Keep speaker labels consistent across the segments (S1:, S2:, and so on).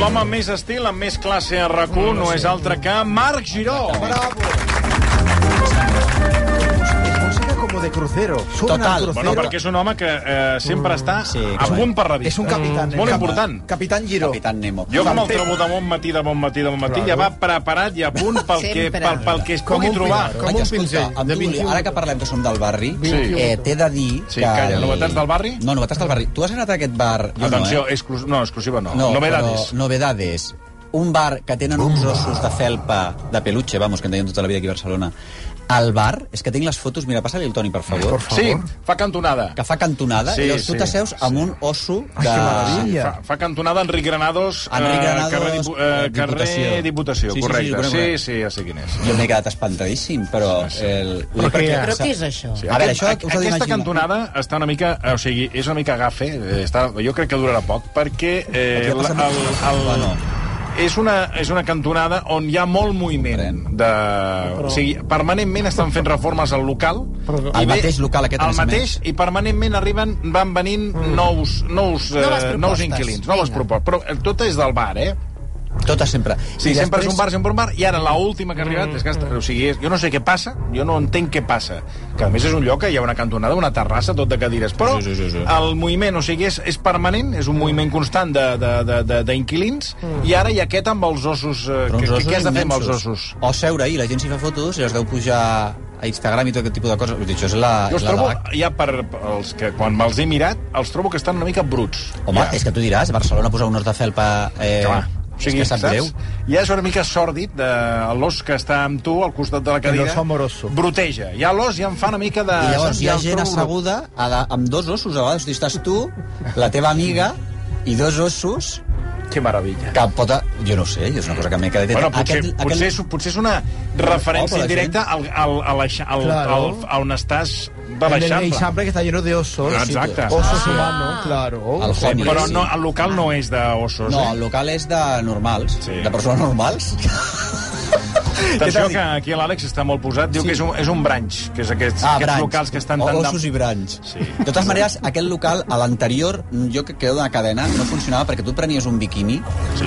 S1: L'home amb més estil, amb més classe a rac no és altre que Marc Giró.
S2: Música como de crucero. Suena
S3: Total.
S2: a crucero.
S1: Bueno, perquè és un home que eh, sempre està
S3: Mm, sí,
S1: a
S3: exacte.
S1: punt per la
S2: És
S1: vista.
S2: un capitán. eh?
S1: Mm. Molt
S2: Cap-
S1: important.
S2: Capitán Giro.
S3: Capitán Nemo.
S1: Jo com el
S2: Manté-
S1: trobo de bon matí, de bon matí, de bon matí, ja va preparat i a punt pel que,
S4: Sempre.
S1: pel, pel que es pugui trobar.
S3: Ai,
S5: Com un
S3: escolta,
S5: pinzell,
S3: em
S5: de
S3: tu,
S5: 21.
S3: ara que parlem que som del barri,
S1: Sí.
S3: eh, t'he de dir
S1: Sí,
S3: que...
S1: calla, novetats del barri?
S3: No, novetats del barri. Tu has anat a aquest bar... Jo
S1: Atenció,
S3: no, eh?
S1: exclus... no, exclusiva no.
S3: No,
S1: Novedades.
S3: Però, novedades. Un bar que tenen uns ossos de felpa, de peluche, vamos, que en deien tota la vida aquí a Barcelona. Al bar, és que tinc les fotos... Mira, passa-li el Toni, per favor.
S1: Sí, fa cantonada.
S3: Que fa cantonada,
S1: Sí,
S3: sí, llavors
S1: sí,
S3: tu t'asseus amb un osso de...
S2: que maravilla.
S1: Fa, fa cantonada Enric Granados, eh,
S3: Enric Granados,
S1: carrer, Dipu- eh,
S3: Diputació.
S1: carrer Diputació,
S3: Sí, sí, sí,
S1: correcte.
S3: conec,
S1: Sí,
S3: conec.
S1: sí, ja sé quin és.
S3: Jo m'he quedat espantadíssim, però... El... Però,
S4: Però què és això?
S1: Sí,
S3: A veure, això us
S1: aquest,
S3: ho d'imaginar.
S1: aquesta cantonada està una mica... eh, O sigui, és una mica agafe. eh, Està, jo crec que durarà poc, perquè... Eh,
S3: Perquè passa molt de temps. Bueno.
S1: és una, és una cantonada on hi ha molt moviment.
S3: Comprèn.
S1: De... O sigui, permanentment estan fent reformes al local.
S3: Al mateix local, aquest, a
S1: Al
S3: més a
S1: mateix, i permanentment arriben, van venint nous, nous, eh,
S4: Mm. Noves propostes.
S1: nous inquilins, noves
S4: Vinga.
S1: propostes. Però eh, tot és del bar, eh?
S3: Totes sempre.
S1: Sí,
S3: I
S1: sempre
S3: després-
S1: és un bar, sempre un bar, i ara l'última que ha arribat és que... està- O sigui, és- jo no sé què passa, jo no entenc què passa. Que a més és un lloc que hi ha una cantonada, una terrassa, tot de cadires. Però
S3: Sí, sí, sí, sí.
S1: el moviment, o sigui, és, és permanent, és un moviment constant de- de- de- de- d'inquilins, i ara hi ha aquest amb els ossos... Eh,
S3: Però
S1: que,
S3: uns
S1: que,
S3: ossos
S1: què has de fer amb els
S3: immensos.
S1: ossos?
S3: O seure ahir, la gent s'hi fa fotos i les deu pujar a Instagram i tot aquest tipus de coses. Vull dir, Això és la...
S1: Jo els
S3: és la
S1: trobo,
S3: DAC.
S1: ja per els que quan me'ls he mirat, els trobo que estan una mica bruts.
S3: Home,
S1: ja.
S3: és que tu diràs, Barcelona posar un os de felpa... Eh,
S1: Clar.
S3: O sigui, és que sap
S1: saps?
S3: greu.
S1: Ja és una mica sòrdid de l'os que està amb tu al costat de la cadira.
S2: oso amoroso.
S1: Broteja. Ja l'os ja em fa una mica de...
S3: I llavors
S1: Ah, saps?
S3: hi
S1: Ja
S3: ha
S1: el
S3: gent
S1: trobo-
S3: asseguda a la, amb dos ossos. A vegades estàs tu, la teva amiga i dos ossos
S1: Que meravella.
S3: que pot... Jo no ho sé, és una cosa que m'he quedat...
S1: Bueno, potser, aquest, potser, és, potser és una referència
S3: Oh,
S1: oh,
S3: la
S1: directa al, al, a la, al,
S2: Claro.
S1: al, a on estàs de
S2: En el
S1: l'Eixample.
S2: Eixample que está lleno de osos.
S1: Ah, exacte.
S2: Osos humanos, claro.
S3: Al Juan.
S1: Però
S3: Sí.
S1: no, el local no és d'ossos,
S3: No,
S1: eh?
S3: el local és de normals,
S1: Sí.
S3: sí. de persones normals.
S1: Atenció
S3: Què t'ha
S1: que aquí l'Àlex està molt posat. Diu
S3: Sí.
S1: que és un, és un branch, que és aquests, aquests
S3: branys.
S1: locals que estan
S3: Ah, O
S1: tan... de-
S3: Ossos i branys.
S1: Sí.
S3: De totes maneres, aquest local, a l'anterior, jo que quedo de cadena, no funcionava perquè tu prenies un biquini,
S1: Sí.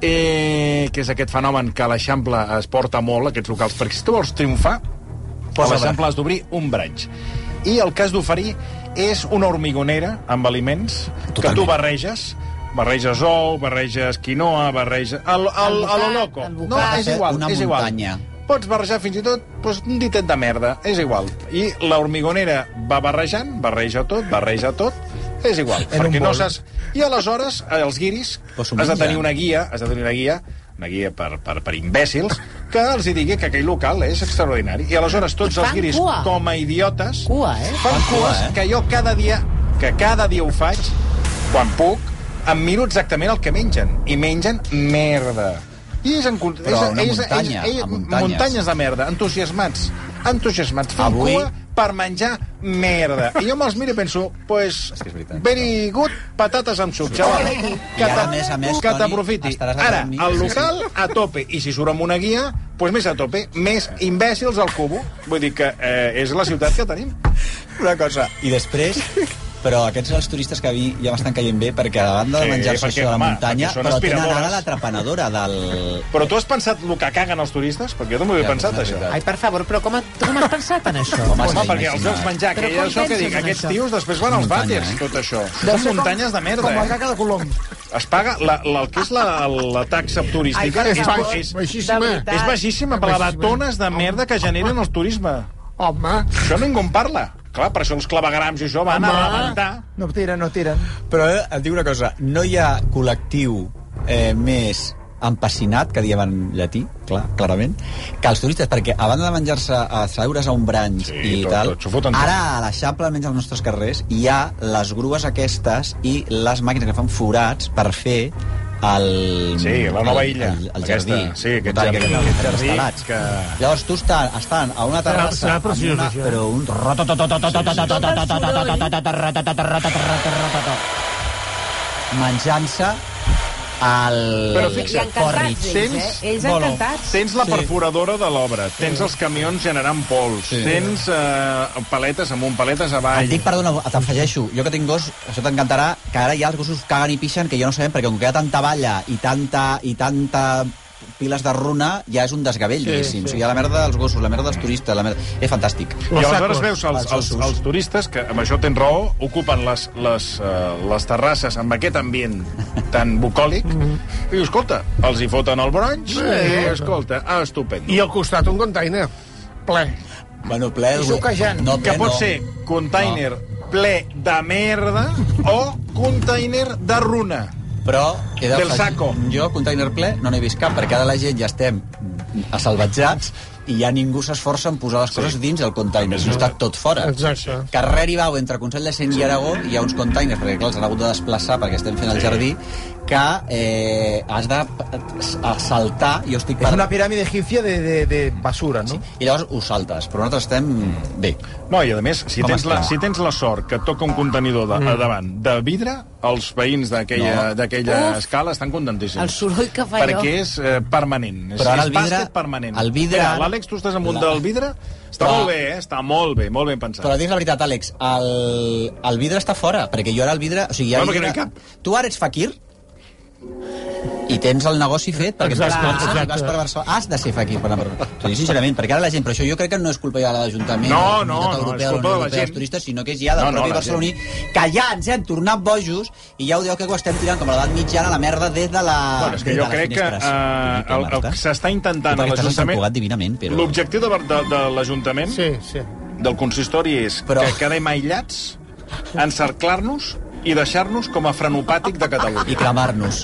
S1: eh, que és aquest fenomen que a l'Eixample es porta molt, aquests locals, perquè si tu vols triomfar, Posa l'exemple has d'obrir un branch. I el que has d'oferir és una hormigonera amb aliments que
S3: Totalment.
S1: tu barreges barreges ou, barreges quinoa, barreges... El, el,
S4: Embocat,
S1: el, loco.
S4: embocat.
S1: No, és igual,
S3: Una
S1: és igual.
S3: muntanya.
S1: Pots barrejar fins i tot doncs, un ditet de merda, és igual. I la hormigonera va barrejant, barreja tot, barreja tot, és igual.
S2: En un
S1: perquè no
S2: bol.
S1: saps... I aleshores, els guiris,
S3: Però s'ho
S1: has de tenir
S3: mengen.
S1: una guia, has de tenir una guia, una guia per, per, per imbècils, que els hi digui que aquell local és extraordinari. I aleshores tots
S4: Fan
S1: els guiris,
S4: cua.
S1: com a idiotes,
S4: Cua, eh?
S1: fan cues
S3: eh?
S1: que jo cada dia, que cada dia ho faig, quan puc, em miro exactament el que mengen. I mengen merda. I és en, con-
S3: Però
S1: és,
S3: una
S1: és-
S3: muntanya,
S1: és- és-
S3: a muntanyes.
S1: muntanyes de merda, entusiasmats, entusiasmats, fent
S3: Avui-
S1: cua per menjar merda. I jo me'ls miro i penso, pues,
S3: que és veritat,
S1: very good, patates amb suc, xaval.
S3: I ara,
S1: t'a-
S3: a més a més,
S1: que
S3: Toni,
S1: t'aprofiti.
S3: estaràs a
S1: Ara,
S3: dormir.
S1: el
S3: Sí,
S1: local a tope, i si surt amb una guia, pues més a tope, més imbècils al cubo. Vull dir que eh, és la ciutat que tenim.
S3: Una cosa. I després... Però aquests són els turistes que a mi ja m'estan caient bé perquè a banda de
S1: Sí,
S3: menjar-se
S1: perquè,
S3: això de la
S1: home,
S3: muntanya,
S1: perquè són
S3: però tenen
S1: aspiradores.
S3: ara la trepanadora del...
S1: Però tu has pensat el que caguen els turistes? Perquè jo també ho he
S3: Ja, doncs,
S1: pensat,
S3: és
S1: això.
S3: una
S4: Ai, per favor, però com, com has pensat en això?
S3: Home,
S1: Home,
S3: s'ha
S1: perquè els
S3: d'imaginar.
S1: veus menjar, que
S4: Però
S1: és
S4: com
S1: això que
S4: penses
S1: dic,
S4: en
S1: aquests
S4: això?
S1: tios després van als
S3: Muntanya,
S1: vàters,
S3: eh?
S1: tot això. Són muntanyes de merda,
S2: Doncs Com la
S1: eh?
S2: caca de Colom.
S1: Es paga la, la, el que és la, la taxa turística.
S5: Ai,
S1: és,
S5: per
S1: és,
S5: favor.
S1: és,
S5: Baixíssima.
S4: De veritat.
S1: és baixíssima per la de tones de merda que generen els turisme.
S5: Home,
S1: Això ningú en parla. Clar, per això els clavegrams i això van a
S5: Home.
S1: rebentar.
S2: No tiren, no tiren.
S3: Però eh, et dic una cosa, no hi ha col·lectiu eh, més empassinat, que diem en llatí, clar, clarament, que els turistes, perquè a banda de menjar-se a seure's a un branch
S1: Sí,
S3: i
S1: tot,
S3: tal,
S1: tot, s'ho foten tot.
S3: ara a l'Eixample, almenys als nostres carrers, hi ha les grues aquestes i les màquines que fan forats per fer el...
S1: Sí, la nova
S3: el-
S1: illa,
S3: El, el
S1: aquesta.
S3: jardí.
S1: Sí, aquest
S3: botànic,
S1: jardí,
S3: aquest
S1: aquest jardí
S3: instal·lats.
S1: que-
S3: Llavors tu estan, estan a una terrassa...
S5: serà
S3: amb
S5: preciós,
S3: una,
S5: això.
S3: Però un... menjant-se el
S1: Però
S6: I
S1: fixa't,
S6: encantats,
S3: porridge.
S6: ells,
S1: Tens-
S6: eh? Ells
S3: Bueno.
S6: encantats.
S1: Tens la
S3: Sí.
S1: perforadora de l'obra, tens els camions generant pols,
S3: Sí.
S1: tens eh, paletes amunt, paletes avall...
S3: Et dic, perdona, t'afegeixo, jo que tinc gos, això t'encantarà, que ara hi ha els gossos caguen i pixen, que ja no sabem, perquè com que hi ha tanta balla i tanta, i tanta piles de runa, ja és un desgavell, sí, diguéssim. Sí. O sigui, hi ha la merda dels gossos, la merda dels turistes, la merda... És fantàstic.
S1: I aleshores
S5: sacos,
S1: veus els,
S3: els
S1: els,
S3: ossos.
S1: els turistes, que amb això tens raó, ocupen les, les, uh, les terrasses amb aquest ambient tan bucòlic, i dius, escolta, els hi foten el brunch, i escolta, ah, estupendo.
S5: I al costat un container ple.
S3: Bueno, ple...
S5: I suquejant.
S3: No, ple,
S1: que pot
S3: no.
S1: ser container ple de merda o container de runa.
S3: Però he de
S1: Del
S3: fer-
S1: saco.
S3: Jo, container ple, no n'he vist cap, perquè ara la gent ja estem asalvatjats i ja ningú s'esforça en posar les coses dins el container, no està tot fora.
S5: Exacte.
S3: Carrer i Bau, entre Consell de Cent i Aragó, hi ha uns containers, perquè clar, els han hagut de desplaçar perquè estem fent el jardí, que eh, has de p- saltar, jo estic
S2: Es
S3: per...
S2: una pirámide egipcia de, de, de basura, ¿no?
S3: I llavors ho saltes, però nosaltres estem bé.
S1: No, i a més, si
S3: Com
S1: tens, la,
S3: estem?
S1: si tens la sort que et toca un contenidor de, a davant de vidre, els veïns d'aquella
S3: Mm. No.
S1: d'aquella
S4: Uf.
S1: escala estan contentíssims.
S4: El soroll que fa
S1: Perquè
S4: allò.
S1: és eh, permanent. És,
S3: Però ara el
S1: és bàsquet
S3: vidre-
S1: permanent.
S3: el vidre
S1: Mira,
S3: ara-
S1: L'Àlex, tu estàs amunt
S3: La-
S1: del vidre? Està
S3: Però-
S1: molt bé, eh? Està molt bé, molt ben pensat.
S3: Però dic la veritat, Àlex, el, el vidre està fora, perquè jo ara el vidre... O sigui, hi ha
S1: No, perquè
S3: vidre...
S1: no hi cap.
S3: Tu ara ets fakir i tens el negoci fet perquè
S5: Exacte,
S3: tu vas,
S5: exacte.
S3: vas per Barcelona. Has de ser fakir per anar per Barcelona. Sí, sincerament, perquè ara la gent... Però això jo crec que no és culpa ja de l'Ajuntament,
S1: No,
S3: de la
S1: no, no,
S3: Comunitat Europea,
S1: és culpa
S3: la Unió
S1: de la
S3: Europea,
S1: gent.
S3: dels turistes, sinó que és ja del
S1: No, no,
S3: no, propi
S1: la
S3: no, barceloní, que ja ens hem tornat bojos i ja ho dieu que ho estem tirant com a l'edat mitjana a la merda des de la...
S1: Bueno, és que
S3: des de
S1: jo
S3: les
S1: crec que
S3: finestres.
S1: eh, el, el que s'està
S3: Tu
S1: intentant a
S3: perquè estàs a Sant Cugat
S1: l'Ajuntament...
S3: divinament, però...
S1: L'objectiu de, de, de l'Ajuntament,
S5: Sí, sí.
S1: del consistori, és
S3: Però-
S1: que quedem aïllats, encerclar-nos i deixar-nos com a frenopàtic de
S3: i
S1: Catalunya.
S3: cremar-nos.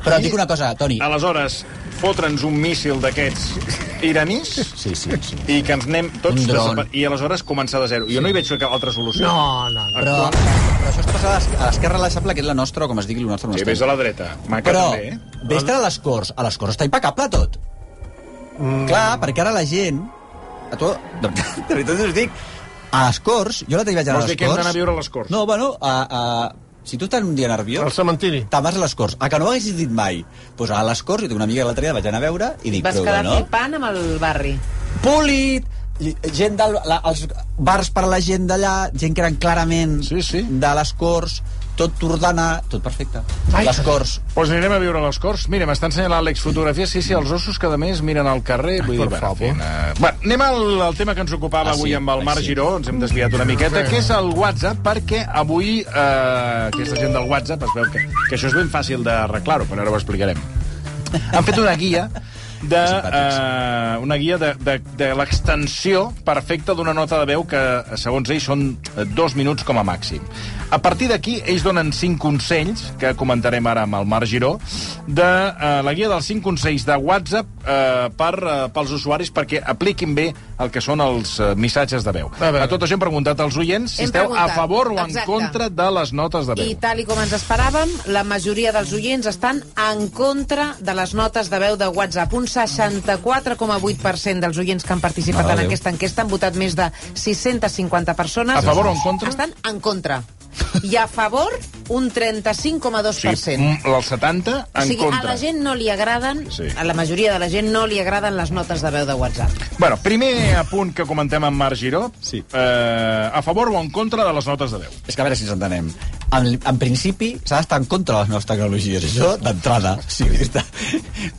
S3: Però et dic una cosa, Toni.
S1: Aleshores, fotre'ns un míssil d'aquests iranís
S3: Sí, sí, sí.
S1: i que ens anem tots...
S3: Un dron.
S1: desapa- I aleshores començar de zero. Jo no hi veig cap altra solució.
S5: No, no. no.
S3: Però, però això es passa a l'es- a l'esquerra de l'Eixample, que és la nostra, o com es digui, la nostra no
S1: Sí,
S3: estem.
S1: vés a la dreta. Maca
S3: Però,
S1: també, eh?
S3: vés a les Corts. A les Corts està impecable tot. Mm. Clar, perquè ara la gent... A tu, de, de veritat us dic, a les Corts, jo l'altre dia vaig anar a
S1: Vols
S3: les
S1: dir que hem
S3: Corts...
S1: d'anar a viure a les Corts?
S3: No, bueno, a, a, si tu estàs un dia nerviós,
S5: Al cementiri.
S3: te'n vas a les Corts. A que no ho haguessis dit mai. Doncs pues a les Corts, jo tinc una amiga que l'altre dia vaig anar a veure i dic,
S4: Vas
S3: però
S4: quedar
S3: bueno,
S4: flipant amb el barri.
S3: polit, i- gent del, la, els bars per la gent d'allà, gent que eren clarament
S1: Sí, sí.
S3: de les Corts, tot tordana, tot perfecte. Ai. Les Corts.
S1: Doncs anirem a viure a les Corts. Mira, m'està ensenyant l'Àlex fotografies. Sí, sí, els ossos cada mes miren al carrer. Vull dir,
S2: per
S1: bueno,
S2: favor.
S1: fent, eh, bueno, anem al, al tema que ens ocupava
S3: Ah,
S1: avui
S3: sí,
S1: amb el
S3: ai,
S1: Marc
S3: sí.
S1: Giró. Ens hem desviat una miqueta, que és el WhatsApp, perquè avui eh, aquesta gent del WhatsApp es veu que, que això és ben fàcil d'arreglar-ho, però ara ho explicarem. Han fet una guia de, eh, una guia de, de, de l'extensió perfecta d'una nota de veu que, segons ells, són eh, dos minuts com a màxim. A partir d'aquí, ells donen cinc consells, que comentarem ara amb el Marc Giró, de eh, la guia dels cinc consells de WhatsApp eh, per, eh, pels usuaris perquè apliquin bé el que són els eh, missatges de veu.
S5: A
S1: A,
S5: veure.
S1: a tot això hem preguntat als oients si
S4: Hem
S1: esteu a
S4: preguntat.
S1: favor o en
S4: Exacte.
S1: contra de les notes de veu.
S4: I tal i com ens esperàvem, la majoria dels oients estan en contra de les notes de veu de WhatsApp. Un 64,8% dels oients que han participat
S3: Mare
S4: en
S3: Déu.
S4: aquesta enquesta han votat més de 650 persones.
S1: A favor o en contra?
S4: Estan en contra. I a favor, un 35,2%.
S1: O sigui, mm, el 70 en
S4: O sigui,
S1: contra.
S4: a la gent no li agraden,
S1: Sí.
S4: sí. a la majoria de la gent no li agraden les notes de veu de WhatsApp.
S1: Bueno, primer apunt que comentem amb Marc Giró.
S3: Sí.
S1: Eh, a favor o en contra de les notes de veu?
S3: És que a veure si ens entenem. En, en principi, s'ha d'estar en contra de les noves tecnologies, això d'entrada. Sí, vull dir, està-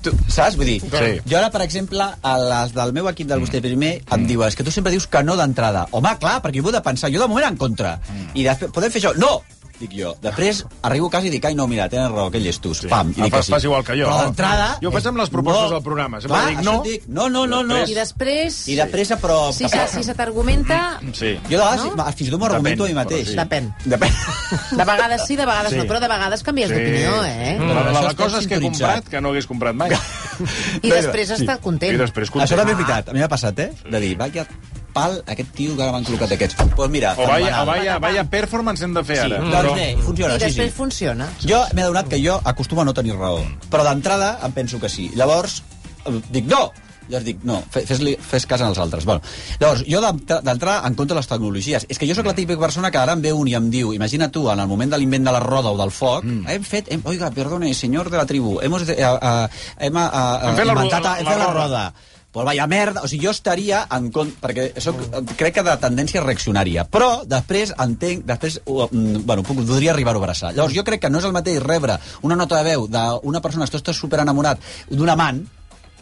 S3: tu, saps? Vull dir,
S1: Sí.
S3: jo ara, per exemple, a les del meu equip del Vostè Primer
S1: Mm.
S3: em diu,
S1: Mm.
S3: és que tu sempre dius que no d'entrada. Home, clar, perquè jo he de pensar, jo de moment en contra. I després, podem fer això? No! Dic jo. Després arribo a casa i dic, ai, no, mira, tenen raó, que llestos. Sí. Pam, i
S1: Em
S3: dic que
S1: fas-
S3: sí.
S1: Ah, fas igual que jo.
S3: Però d'entrada...
S1: Jo ho faig amb les propostes del programa. Sempre
S3: clar,
S1: dic
S3: això
S1: no.
S3: et Dic, no, no, no, no.
S4: I després...
S3: I després, però...
S4: Si se si se t'argumenta...
S1: Mm, Sí.
S3: Jo de vegades,
S4: No?
S3: no? fins i tot m'ho argumento a mi
S1: Depèn,
S3: mateix.
S1: però
S4: Depèn.
S3: Depèn.
S4: De vegades sí, de vegades
S1: Sí.
S4: no, però de vegades canvies d'opinió, eh?
S1: La, la,
S3: Això
S1: la
S3: està
S1: cosa és que he
S3: sintonitzat.
S1: comprat que no hagués comprat mai.
S4: I després està
S1: I
S4: content.
S1: després content.
S3: Això també és veritat. A mi m'ha passat, eh? De dir, vaja pal, aquest tio que ara m'han col·locat aquests. Doncs pues mira,
S1: O vaya, o
S3: fenomenal.
S1: vaya, vaya performance hem de fer ara.
S3: Sí, doncs bé, funciona, sí,
S4: I
S3: sí.
S4: després funciona.
S3: Jo m'he adonat que jo acostumo a no tenir raó, però d'entrada em penso que sí. Llavors, eh, dic no! Llavors dic, no, fe- fes-li fes cas als altres. Bueno, llavors, jo d'entra- d'entrada en contra de les tecnologies. És que jo sóc la típica persona que ara em ve un i em diu, imagina tu, en el moment de l'invent de la roda o del foc, mm. hem fet, hem, oiga, perdone, senyor de la tribu, hemos, de, eh, eh, hem, eh, eh,
S1: Hem fet la ro-
S3: inventat,
S1: la-
S3: hem
S1: la
S3: fet la
S1: roda.
S3: roda. Pues vaya merda, o sigui, jo estaria en contra, perquè soc, crec que de tendència reaccionària, però després entenc, després, ho- mm, bueno, puc, podria arribar-ho a abraçar. Llavors, jo crec que no és el mateix rebre una nota de veu d'una persona que tu estàs super enamorat d'un amant,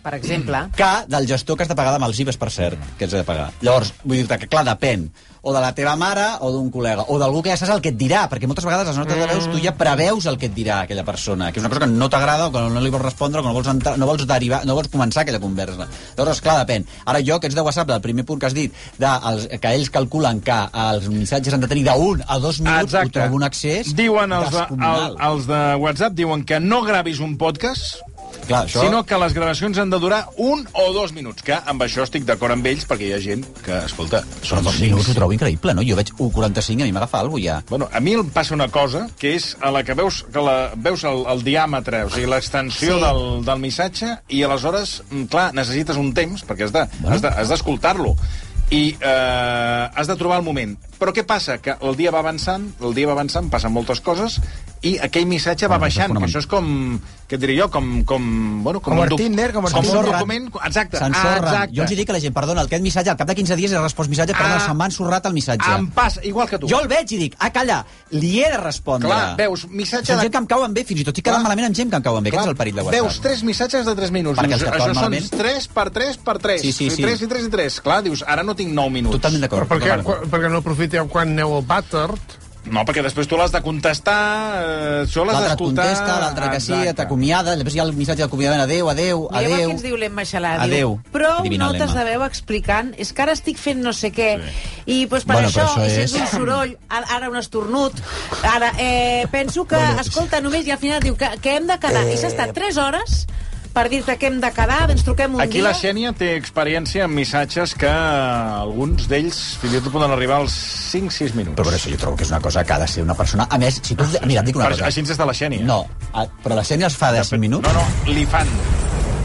S4: Per exemple,
S3: que del gestor que has de pagar amb els IBES, per cert, que has de pagar. Llavors, vull dir-te que, clar, depèn o de la teva mare o d'un col·lega, o d'algú que ja saps el que et dirà, perquè moltes vegades les notes de veus tu ja preveus el que et dirà aquella persona, que és una cosa que no t'agrada o que no li vols respondre o que no vols, entrar, no vols, derivar, no vols començar aquella conversa. Llavors, clar, depèn. Ara jo, que ets de WhatsApp, del primer punt que has dit, de, els, que ells calculen que els missatges han de tenir d'un a dos minuts, ho trobo un accés
S1: Diuen els, de, el,
S3: descomunal.
S1: els de WhatsApp diuen que no gravis un podcast,
S3: Clar,
S1: això...
S3: això...
S1: sinó que les gravacions han de durar un o dos minuts, que amb això estic d'acord amb ells, perquè hi ha gent que, escolta,
S3: Però
S1: són
S3: dos
S1: dos
S3: minuts ho
S1: cincs.
S3: trobo increïble, no? Jo veig 1,45, a mi m'agafa alguna cosa ja.
S1: Bueno, a mi em passa una cosa, que és a la que veus, que la, veus el, el diàmetre, o sigui, l'extensió sí. del, del missatge, i aleshores, mm, clar, necessites un temps, perquè has de-
S3: Bueno.
S1: has de- has d'escoltar-lo. De, i eh, has de trobar el moment. Però què passa? Que el dia va avançant, el dia va avançant, passen moltes coses, i aquell missatge va
S3: Ah, això és
S1: baixant, que
S3: fonamental.
S1: això és com, què et diré jo, com... Com, bueno, com,
S2: Com
S1: un doc-
S2: el Tinder, com el
S1: com un
S3: S'ensorren.
S1: document... Exacte, ah,
S3: S'ensorren.
S1: exacte.
S3: Jo els hi dic a la gent, perdona, aquest missatge, al cap de 15 dies he respost missatge, perdona,
S1: Ah.
S3: se m'ha ensorrat el missatge.
S1: Em passa, igual que tu.
S3: Jo el veig i dic, ah, calla, li he de respondre.
S1: Clar, veus, missatge
S3: Són
S1: de-
S3: gent que em cauen bé, fins i tot estic quedant
S1: Clar.
S3: malament amb gent que em cauen bé. Aquest és el perill de WhatsApp.
S1: Veus tres missatges de 3 minuts.
S3: Perquè els
S1: dius,
S3: que
S1: això
S3: tornen malament-
S1: són 3 per 3 per 3.
S3: Sí, sí, sí.
S1: 3 i 3 i 3. Clar, dius, ara no tinc 9 minuts.
S3: Totalment
S5: Però
S3: d'acord.
S5: per què,
S3: totalment
S5: quan,
S3: d'acord.
S5: perquè no aprofiteu quan aneu al vàter?
S1: No, perquè després tu l'has de contestar, eh, això l'has
S3: L'altre et
S1: d'escoltar...
S3: contesta, l'altre que sí,
S1: Exacte.
S3: t'acomiada, després hi ha el missatge d'acomiadament, adeu, adeu,
S4: Mireu
S3: adeu.
S4: què ens diu l'Emma Xalà. diu,
S3: Adéu.
S4: Prou
S3: Adivina
S4: notes
S3: l'Emma.
S4: de veu explicant, és que ara estic fent no sé què, i doncs, per
S3: Bueno,
S4: això,
S3: però això
S4: i si és
S3: és-
S4: un soroll, ara ara un estornut, ara eh, penso que, escolta, només, i al final diu que, que hem de quedar,
S3: Eh.
S4: i s'ha estat 3 hores per dir-te que hem de quedar, ens truquem un
S1: Aquí
S4: dia...
S1: la Xènia té experiència amb missatges que eh, alguns d'ells fins i tot poden arribar als 5-6 minuts.
S3: Però per això jo trobo que és una cosa que ha de ser una persona... A més,
S1: Ah,
S3: si tu... Mira, et dic una
S1: Per-
S3: cosa.
S1: Així ens està la Xènia.
S3: No, a- però la Xènia els fa de 5 minuts?
S1: No, no, li fan.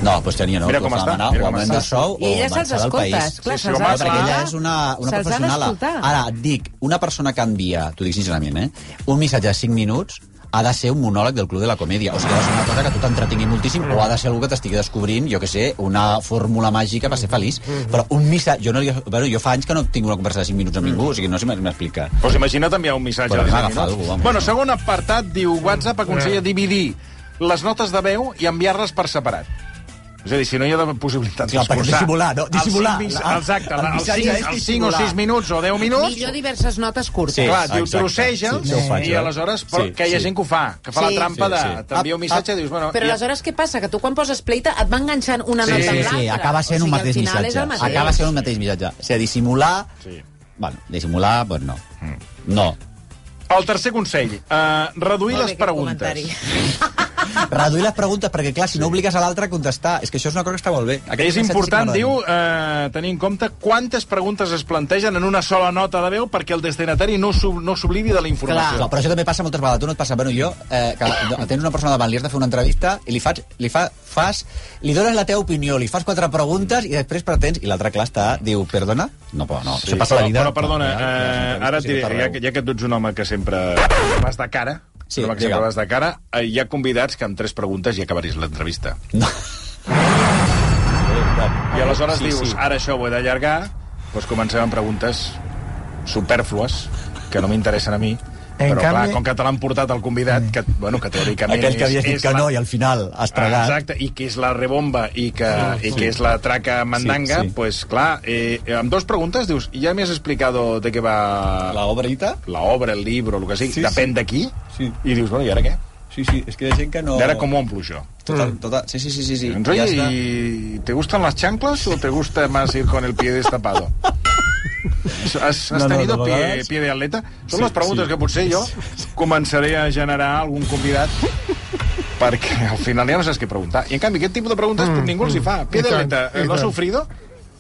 S3: No, doncs Xènia no.
S1: Mira
S3: tu
S1: com
S3: has de
S1: està,
S3: demanar
S1: mira
S3: o
S1: com
S3: augment
S1: està.
S3: de sou
S4: I
S3: o
S4: ella se'ls
S3: marxar del
S4: escolta,
S3: país.
S4: esclar,
S1: Sí, sí,
S4: se'ls
S1: home,
S4: ha
S3: Clar, perquè
S4: d'escoltar.
S3: ella és una, una
S4: Se'ls ha
S3: professional.
S4: d'escoltar.
S3: Ara, et dic, una persona que envia, t'ho dic sincerament, eh, un missatge de 5 minuts ha de ser un monòleg del Club de la Comèdia. O sigui, ha de ser una cosa que tu t'entretingui moltíssim o ha de ser algú que t'estigui descobrint, jo que sé, una fórmula màgica per ser feliç.
S1: Mm-hmm.
S3: Però un missatge... Jo, no, li- bueno, jo fa anys que no tinc una conversa de 5 minuts amb ningú, o sigui, no sé si m'explica.
S1: Pues imagina't enviar un missatge.
S3: Però
S1: de
S3: a mi m'ha
S1: cinc
S3: agafat
S1: minuts.
S3: algú, home.
S1: Bueno, segon apartat, diu WhatsApp aconsella dividir les notes de veu i enviar-les per separat. És a dir, si no hi ha de possibilitat
S3: Clar, perquè
S1: d'escoltar
S3: dissimular, no? Dissimular.
S1: Els cinc,
S3: El-
S1: mis- exacte,
S3: el
S1: els 5,
S3: missatge és
S1: els 5 o
S3: dissimular.
S1: 6 minuts o 10 minuts.
S4: Millor diverses notes curtes.
S3: Sí.
S1: Clar, diu,
S3: exacte.
S1: trosseja'ls
S3: Sí, sí, ho faig,
S1: i
S3: eh?
S1: aleshores... Però
S3: Sí,
S1: que hi ha
S3: sí.
S1: gent que ho fa, que fa
S4: Sí.
S1: la trampa
S3: Sí,
S1: de...
S3: sí.
S1: T'envia un
S3: Ah,
S1: missatge i
S3: ah.
S1: dius... Bueno,
S4: Però
S1: i-
S4: aleshores què passa? Que tu quan poses pleita et va enganxant una
S1: Sí,
S4: nota
S1: sí,
S4: amb
S3: Sí,
S4: l'altra.
S3: sí, acaba sent
S4: O
S3: un
S4: sigui, al
S3: mateix
S4: final és
S3: missatge.
S4: el mateix.
S3: Acaba sent un mateix missatge. O sigui, dissimular...
S1: Sí. Mm.
S3: Bueno, dissimular, doncs no. No.
S1: El tercer consell, eh, reduir
S4: Molt bé,
S1: les
S4: aquest
S1: preguntes.
S4: comentari.
S3: Reduir les preguntes, perquè, clar, si no obligues a l'altre a contestar, és que això és una cosa que està molt bé.
S1: És
S3: missatges
S1: important,
S3: que
S1: diu,
S3: m'agraden.
S1: eh, tenir en compte quantes preguntes es plantegen en una sola nota de veu perquè el destinatari no s'ob- no s'oblidi de la
S3: Clar,
S1: informació.
S3: però això també passa moltes vegades. Tu no et passa, bueno, jo, eh, que no, tens una persona davant, li has de fer una entrevista i li fas, li fa, fas, li dones la teva opinió, li fas quatre preguntes i després pretens, i l'altre, clar, està, diu, perdona? No, però no, sí, això passa a
S1: però,
S3: la vida.
S1: Però, perdona,
S3: Ja, ja, les
S1: eh,
S3: entrevistes
S1: ara et
S3: sí que
S1: diré, ja,
S3: t'arreu.
S1: que- ja que tu ets un home que sempre vas de cara,
S3: Sí,
S1: un home que
S3: digue'm.
S1: sempre vas de cara, eh, hi ha convidats que amb tres preguntes ja acabaris l'entrevista.
S3: No.
S1: I aleshores
S3: Sí,
S1: dius, "Ah,
S3: sí.
S1: ara això ho he d'allargar, doncs comencem amb preguntes superflues, que no m'interessen a mi,
S2: En
S1: Però, clar,
S2: canvi-
S1: com que te l'han portat el convidat, que, bueno, que teòricament...
S3: Aquell que havies
S1: és-
S3: dit
S1: és
S3: que
S1: la-
S3: no i al final has tragat.
S1: Exacte, i que és la rebomba i que, i que és la traca mandanga,
S3: Sí,
S1: sí,
S3: sí.
S1: pues clar, eh, amb dos preguntes dius, ja m'has explicado de què va
S6: La obrita?
S1: la obra, el libro, el que sigui, sí,
S6: Sí,
S1: depèn
S6: sí.
S1: de qui,
S6: Sí.
S1: i dius, bueno, i ara què?
S6: Sí, sí, és que hi ha gent que no...
S1: I ara com Doncs, ho omplo, això?
S3: Tota,
S6: Total, total. Sí, sí, sí, sí. sí.
S1: Diuen,
S6: Ja
S1: Oye,
S6: està.
S1: ¿y ¿te gustan las chanclas o te gusta más ir con el pie destapado? ¿Has, has
S3: No, no, de
S1: tenido pie,
S3: vegades-
S1: pie de atleta? Són sí, les preguntes sí. que potser jo començaré a generar algun convidat perquè al final ja no saps què preguntar. I en canvi aquest tipus de preguntes mm, ningú els hi fa. Pie
S5: i
S1: de
S5: tant,
S1: atleta,
S5: i
S1: ¿lo has
S5: tant.
S1: sufrido?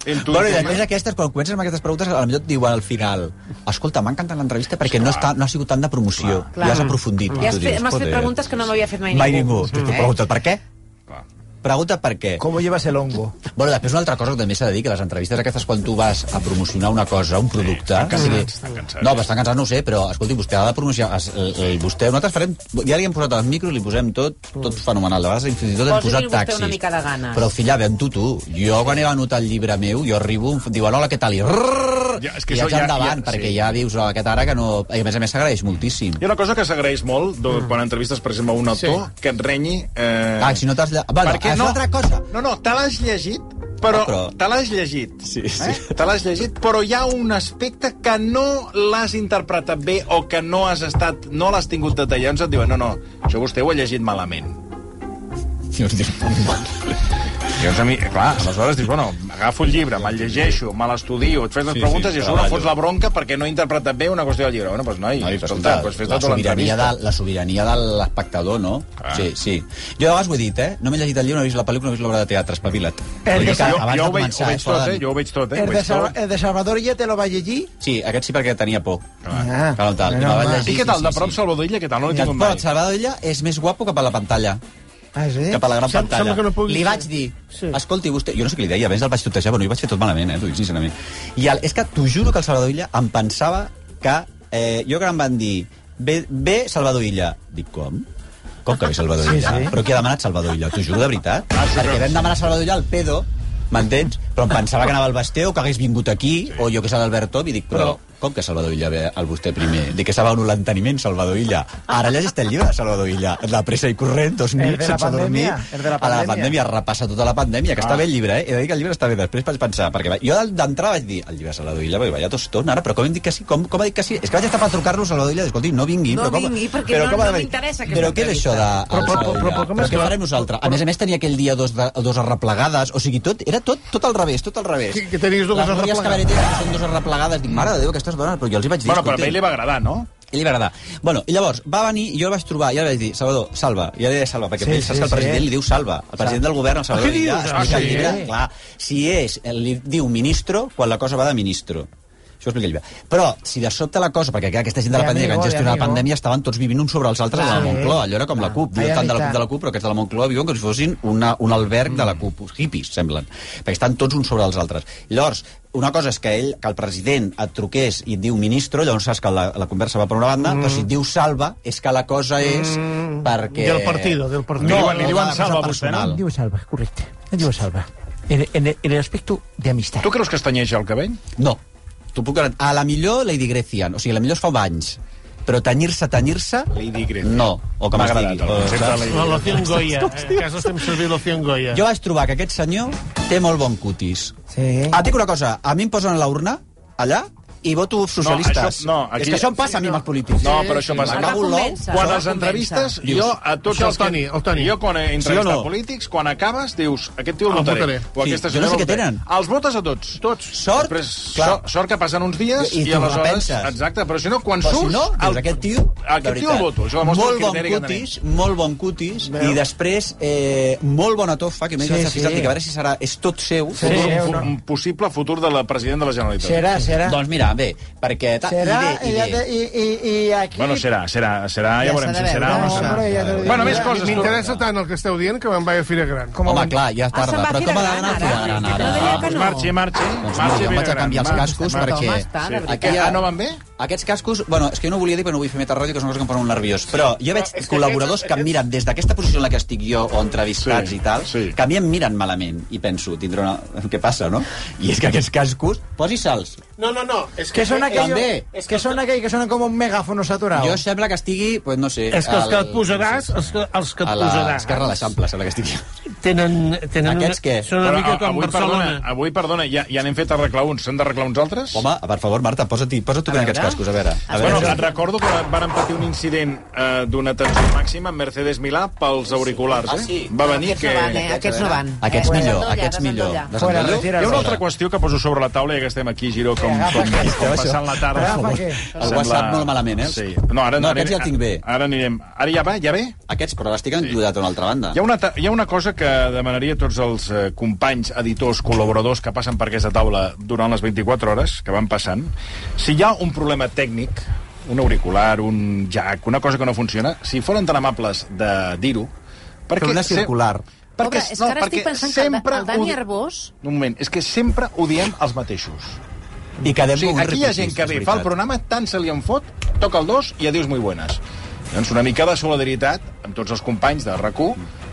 S1: En tu
S3: Bueno, i a
S1: informe?
S3: més aquestes, quan comences amb aquestes preguntes, potser et diuen al final escolta, m'ha encantat l'entrevista perquè no, està, no ha sigut tant de promoció,
S4: Clar.
S3: ja has aprofundit.
S4: Ja has
S3: Tu dius,
S4: fet- m'has fet
S3: "Joder".
S4: preguntes que no m'havia fet mai
S3: Mai
S4: ningú.
S3: ningú. Tu, tu
S4: Eh?
S3: pregunta per què?
S1: Mm. Clar.
S3: Pregunta per què.
S2: ¿Cómo llevas el hongo?
S3: Bueno, després una altra cosa que també s'ha de dir, que les entrevistes aquestes quan tu vas a promocionar una cosa, un producte... Sí,
S1: cansats, estan cansats.
S3: No, però estan cansats, no ho sé, però escolti, vostè ha de promocionar... es- el- el- Vostè, nosaltres farem... Ja li hem posat el micro i li posem tot, tot fenomenal. De vegades fins i tot hem
S4: Posi-li
S3: posat
S4: vostè
S3: taxis.
S4: una mica de ganes.
S3: Però, filla, ven tu, tu. Jo, quan he venut el llibre meu, jo arribo, em diuen, hola, què tal? I, rrrr,
S1: Ja,
S3: ja,
S1: és que
S3: i
S1: això
S3: ja,
S1: ja-
S3: endavant,
S1: ja-
S3: perquè
S1: sí.
S3: ja dius, hola, aquest ara que no... I, a més a més, s'agraeix moltíssim.
S1: Hi ha una cosa que s'agraeix molt do, quan entrevistes, per exemple, un autor, sí. que et renyi... Eh...
S3: Ah, si no t'has... lla- Bueno,
S1: Perquè
S3: és una altra cosa.
S1: No, no, te l'has llegit, però, però...
S3: No, però-
S1: te l'has llegit.
S6: Sí,
S1: Eh?
S6: sí.
S1: Te l'has llegit, però hi ha un aspecte que no l'has interpretat bé o que no has estat, no l'has tingut detallat. Llavors et diuen, no, no, això vostè ho ha llegit malament.
S3: I us dius,
S1: Llavors, a mi, clar, aleshores dius, bueno, agafo el llibre, me'l llegeixo, me l'estudio, et fes les
S6: Sí,
S1: sí,
S6: sí,
S1: preguntes sí, i a sobre
S6: treballo.
S1: fots la bronca perquè no he interpretat bé una qüestió del llibre. Bueno, doncs, noi,
S6: Noi,
S1: escolta,
S6: escolta,
S1: doncs fes
S3: la
S1: tota
S3: sobirania,
S1: l'entrevista. Ah.
S3: de, la sobirania de l'espectador, no?
S1: Clar.
S3: Sí, sí. Jo de vegades ho he dit, eh? No m'he llegit el llibre, no he vist la pel·lícula, no he vist l'obra de teatre, espavila't. Vull dir
S1: Eh, Jo,
S3: que abans
S1: jo, ho
S3: de
S1: veig, ho
S3: començar,
S1: veig
S3: és hora
S1: tot,
S3: de-
S1: eh? Jo ho veig tot, eh? Ho
S2: ¿El de,
S1: veig
S2: Salva-
S1: tot.
S2: el de Salvador ya te lo va a llegir?
S3: Sí, aquest sí perquè tenia por.
S2: Ah,
S3: Clar, tal,
S2: menos
S3: no,
S2: mal.
S3: vaig
S1: I
S3: llegir.
S1: què tal,
S3: sí,
S1: de
S3: sí,
S1: prop,
S3: sí.
S1: Salvador Illa, què tal? No l'he
S3: Que el
S1: tingut mai.
S3: Pol Salvador Illa és més guapo que per la pantalla,
S2: Ah, sí?
S3: que per la gran
S5: Sem-
S3: pantalla.
S5: sembla que no pugui
S3: li
S5: ser.
S3: vaig dir,
S5: Sí.
S3: escolti, vostè... Jo no sé què li deia, abans el vaig tutejar, però no hi vaig fer tot malament, eh, t'ho dic sincerament. I el, és que t'ho juro que el Salvador Illa em pensava que... Eh, jo que em van dir, ve, ve Salvador Illa. Dic, com? Com que ve Salvador Illa?
S2: sí.
S3: Però qui ha demanat Salvador Illa? T'ho juro de veritat.
S5: Ah,
S3: Perquè vam demanar Salvador Illa al pedo, m'entens? Però em pensava que anava al Basté o que hagués vingut aquí, o jo que sé d'Albert Tom, i dic, però, com que Salvador Illa ve al vostè primer? De que s'ha venut l'enteniment, Salvador Illa. Ara llegeix el llibre, de Salvador Illa. La pressa i corrent, dos
S2: El
S3: nits
S2: de la
S3: sense dormir.
S2: pandèmia, el de la
S3: A la
S2: pandèmia.
S3: pandèmia, repassa tota la pandèmia, que està bé el llibre, eh? He de dir que el llibre està bé. Després vaig pensar, perquè va- jo d'entrada vaig dir, el llibre de Salvador Illa, vaig ballar tostona, ara, però com hem dit que sí? Com, com ha dit que sí? És que vaig estar per trucar-lo a Salvador Illa, escolti, no vingui.
S4: No
S3: però com,
S4: vingui, perquè no-
S3: ha
S4: no
S3: de-
S4: m'interessa aquesta
S3: Però què és això de...
S5: Però- però- però- però com
S3: però
S5: és
S3: què
S5: que-
S3: farem nosaltres? A més a més, tenia aquell dia dos, de, dos arreplegades, o sigui, tot, era tot, tot al revés, tot al revés.
S5: Que- que tenies dues
S3: Les noies
S5: arreplegades.
S3: cabareteres que són dos arreplegades, dic, mare de Déu, aquestes dones, però jo els hi vaig dir,
S1: Bueno, però a
S3: escolti,
S1: ell li va agradar, no?
S3: i li va agradar. Bueno, i llavors va venir, i jo el vaig trobar, i ara vaig dir, Salvador, salva. I ara deia salva, perquè
S2: Sí,
S3: sí, ell, saps
S2: sí,
S3: que el president
S2: sí.
S3: li diu salva. El president del govern, el Salvador,
S5: què
S3: li
S5: dius?
S3: explica
S5: Ah,
S3: el
S5: sí?
S3: llibre, clar, si és, li diu ministro, quan la cosa va de ministro. Això ho explica el llibre. Però, si de sobte la cosa, perquè clar, aquesta gent de la
S2: De
S3: pandèmia que
S2: amigo,
S3: han gestionat
S2: de
S3: la
S2: amigo.
S3: pandèmia estaven tots vivint uns sobre els altres a la
S2: Clar.
S3: Moncloa, allò era com la CUP.
S2: Ai,
S3: Diuen tant de la
S2: amitat.
S3: CUP de la CUP, però aquests de la Moncloa viuen com si fossin una, un alberg de la CUP. Hippies, semblen. Perquè estan tots uns sobre els altres. Llavors, una cosa és que ell, que el president et truqués i et diu ministro, llavors saps que la, la conversa va per una banda, però si et diu salva, és que la cosa és perquè...
S5: Del partido, del partido.
S3: No,
S1: Li diuen- li
S3: no,
S1: diuen
S3: de la cosa
S1: salva a vostè,
S3: personal.
S7: Digo salva, correcto. Digo salva. En, en el- en el aspecto de amistad.
S1: Tu creus que es tenyeix el cabell?
S3: No, t'ho puc garantir. A la millor Lady Grecian, o sigui, la millor es fa banys. Però tenyir-se, tenyir-se...
S1: Lady Grecian.
S3: No, o que
S1: M'ha
S3: m'has
S1: agradat
S3: dit.
S1: el concepte de Lady
S5: La loción Goya. Eh? A casa estem servint loción Goya.
S3: Jo vaig trobar que aquest senyor té molt bon cutis.
S2: Sí.
S3: Et dic una cosa, a mi em posen a l'urna, allà, i voto socialistes.
S1: això- no, aquí-
S3: És que això em passa a mi amb els polítics.
S1: No, però això passa.
S3: Me
S4: Ara
S3: cago en l'ou.
S4: comença.
S1: Quan
S4: Això
S1: els
S4: comença.
S1: entrevistes,
S3: Dius,
S1: jo a tots
S5: això el
S1: els... que-
S5: Toni, el Toni.
S1: Jo quan he entrevistat
S3: Sí o no?
S1: polítics, quan acabes, dius, aquest tio el
S5: El
S1: votaré.
S5: votaré.
S1: O
S3: Sí,
S1: aquesta
S3: jo no sé
S1: senyora el
S3: què
S1: votaré.
S3: tenen.
S1: Els votes a tots. Tots.
S3: Sort,
S1: Després,
S3: clar.
S1: sort, sort que passen uns dies
S3: I
S1: i,
S3: t'ho
S1: aleshores...
S3: repenses.
S1: Exacte, però si no, quan
S3: Però
S1: surts...
S3: si no, dius, aquest tio... de
S1: Aquest tio el
S3: veritat,
S1: voto. Això demostra
S3: molt
S1: el
S3: bon
S1: criteri que tenim.
S3: cutis, molt bon cutis, i després eh, molt bona tofa, que m'he
S2: Sí,
S3: sí,
S2: sí.
S3: sí. que a veure si serà... És tot seu.
S2: Sí,
S1: Un-
S2: eh,
S1: un-
S2: no.
S1: Un possible futur de la president de la Generalitat.
S2: Será, será.
S3: Doncs mira, bé, perquè... ta-
S2: Será,
S3: I
S2: y,
S3: bé,
S2: ya
S3: i
S2: te-
S3: bé.
S2: y, y- y aquí...
S1: Bueno, serà, serà, serà, ja,
S4: Ja
S1: veurem
S4: s'ha
S1: si
S4: de veure,
S1: serà o no
S2: no,
S1: serà.
S2: hombre, ja t'ho dic.
S1: bueno, més coses. tu.
S5: M'interessa tant el que esteu dient que me'n vaig a Fira Gran.
S2: Com
S3: Home,
S2: avui.
S3: clar, ja és
S4: Ah, se'n
S3: tarda.
S4: va
S3: Però
S4: Fira
S3: com ha
S4: Gran,
S3: d'anar a
S4: ara.
S3: Fira Gran,
S4: No
S3: ara?
S4: deia
S1: Ah,
S4: que
S1: doncs
S4: no.
S1: marxi, marxi.
S3: Doncs no,
S1: marxi,
S3: jo em vaig a
S1: Vilagrana,
S3: canviar els
S1: marxi.
S3: cascos
S4: Marta,
S3: perquè...
S4: home, està, de veritat.
S1: Ah, no van bé?
S3: Aquests cascos... Bueno, és que jo no ho volia dir, però no vull fer meta ràdio, que és una cosa que em posa molt nerviós. Però jo veig
S5: és que
S3: col·laboradors que em miren des d'aquesta posició en la que estic jo, o entrevistats
S1: Sí,
S3: i tal,
S1: sí.
S3: que a mi em miren malament. I penso, tindré una... Què passa, no? I és que aquests cascos... Posi-se'ls.
S5: No, no, no. És eh,
S2: Que són aquells
S3: També.
S2: que són aquells que sonen com un megàfono saturat.
S3: Jo sembla que estigui, pues, no sé...
S5: És que els que et posaràs,
S3: sí,
S5: els que, els que
S3: sí,
S5: et
S3: A la
S5: posaràs...
S3: Esquerra de l'Eixample, sembla que estigui.
S5: Tenen, tenen
S3: Aquests què?
S5: Són una
S1: Però
S5: mica
S1: a-
S5: com
S1: avui,
S5: Barcelona.
S1: Perdona, avui, perdona, ja, ja n'hem fet arreglar uns. S'han d'arreglar uns altres?
S3: Home, per favor, Marta, posa't, posa't tu bé en aquests cascos, a veure. A veure
S1: Bueno, et recordo que van patir un incident eh, d'una tensió màxima amb Mercedes Milà pels auriculars, eh?
S3: Ah, sí.
S1: Va venir
S4: Aquests
S1: que...
S4: no van, eh? Aquests no van.
S3: Aquests
S4: Eh,
S3: millor,
S4: desendollar,
S3: aquests millor.
S4: desendollar.
S2: Fuera,
S3: Desendollo.
S1: Hi
S2: retira.
S1: ha una altra qüestió que poso sobre la taula, ja que estem aquí, Giró, com,
S2: Agafa
S1: com,
S2: aquest,
S1: com passant la tarda.
S2: Agafa aquest.
S1: Sembla-
S3: El WhatsApp molt malament, eh?
S1: Sí. No, ara,
S3: No,
S1: anirem-
S3: aquests ja el tinc bé.
S1: Ara anirem... Ara ja va? Ja ve?
S3: Aquests, però l'estic encodat a una altra banda.
S1: Hi ha, una, ta- hi ha una cosa que demanaria a tots els eh, companys, editors, col·laboradors que passen per aquesta taula durant les 24 hores que van passant. Si hi ha un problema tècnic, un auricular, un jack, una cosa que no funciona, si foren tan amables de dir-ho...
S3: Però una
S1: se-
S3: circular.
S4: Pobre, és que ara estic pensant que el Da- el Dani
S1: ho di-
S4: Arbós-
S1: Un moment, és que sempre odiem els mateixos.
S3: I
S1: O
S3: quedem
S1: sigui,
S3: com uns
S1: aquí hi ha gent que
S3: ripiquistes,
S1: ve,
S3: és
S1: fa el
S3: veritat.
S1: programa, tant se li en fot, toca el dos i adiós muy buenas. Doncs una mica de solidaritat amb tots els companys de rac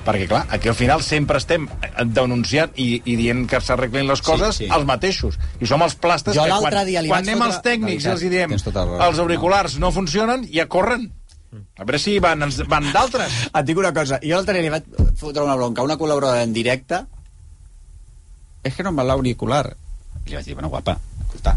S1: perquè, clar, aquí al final sempre estem eh, denunciant i, i dient que s'arreglin les coses sí,
S3: sí.
S1: sí. els mateixos. I som els plastes
S3: Jo
S1: que quan,
S3: l'altre dia li
S1: quan
S3: vaig
S1: anem
S3: fotre-
S1: als tècnics i els hi diem
S3: Tens tota la raó.
S1: els auriculars no funcionen, ja corren. A veure si van, ens- van d'altres.
S3: Et dic una cosa, jo l'altre dia li vaig fotre una bronca a una col·laboradora en directe és que no em va l'auricular i li vaig dir, bueno, guapa, escolta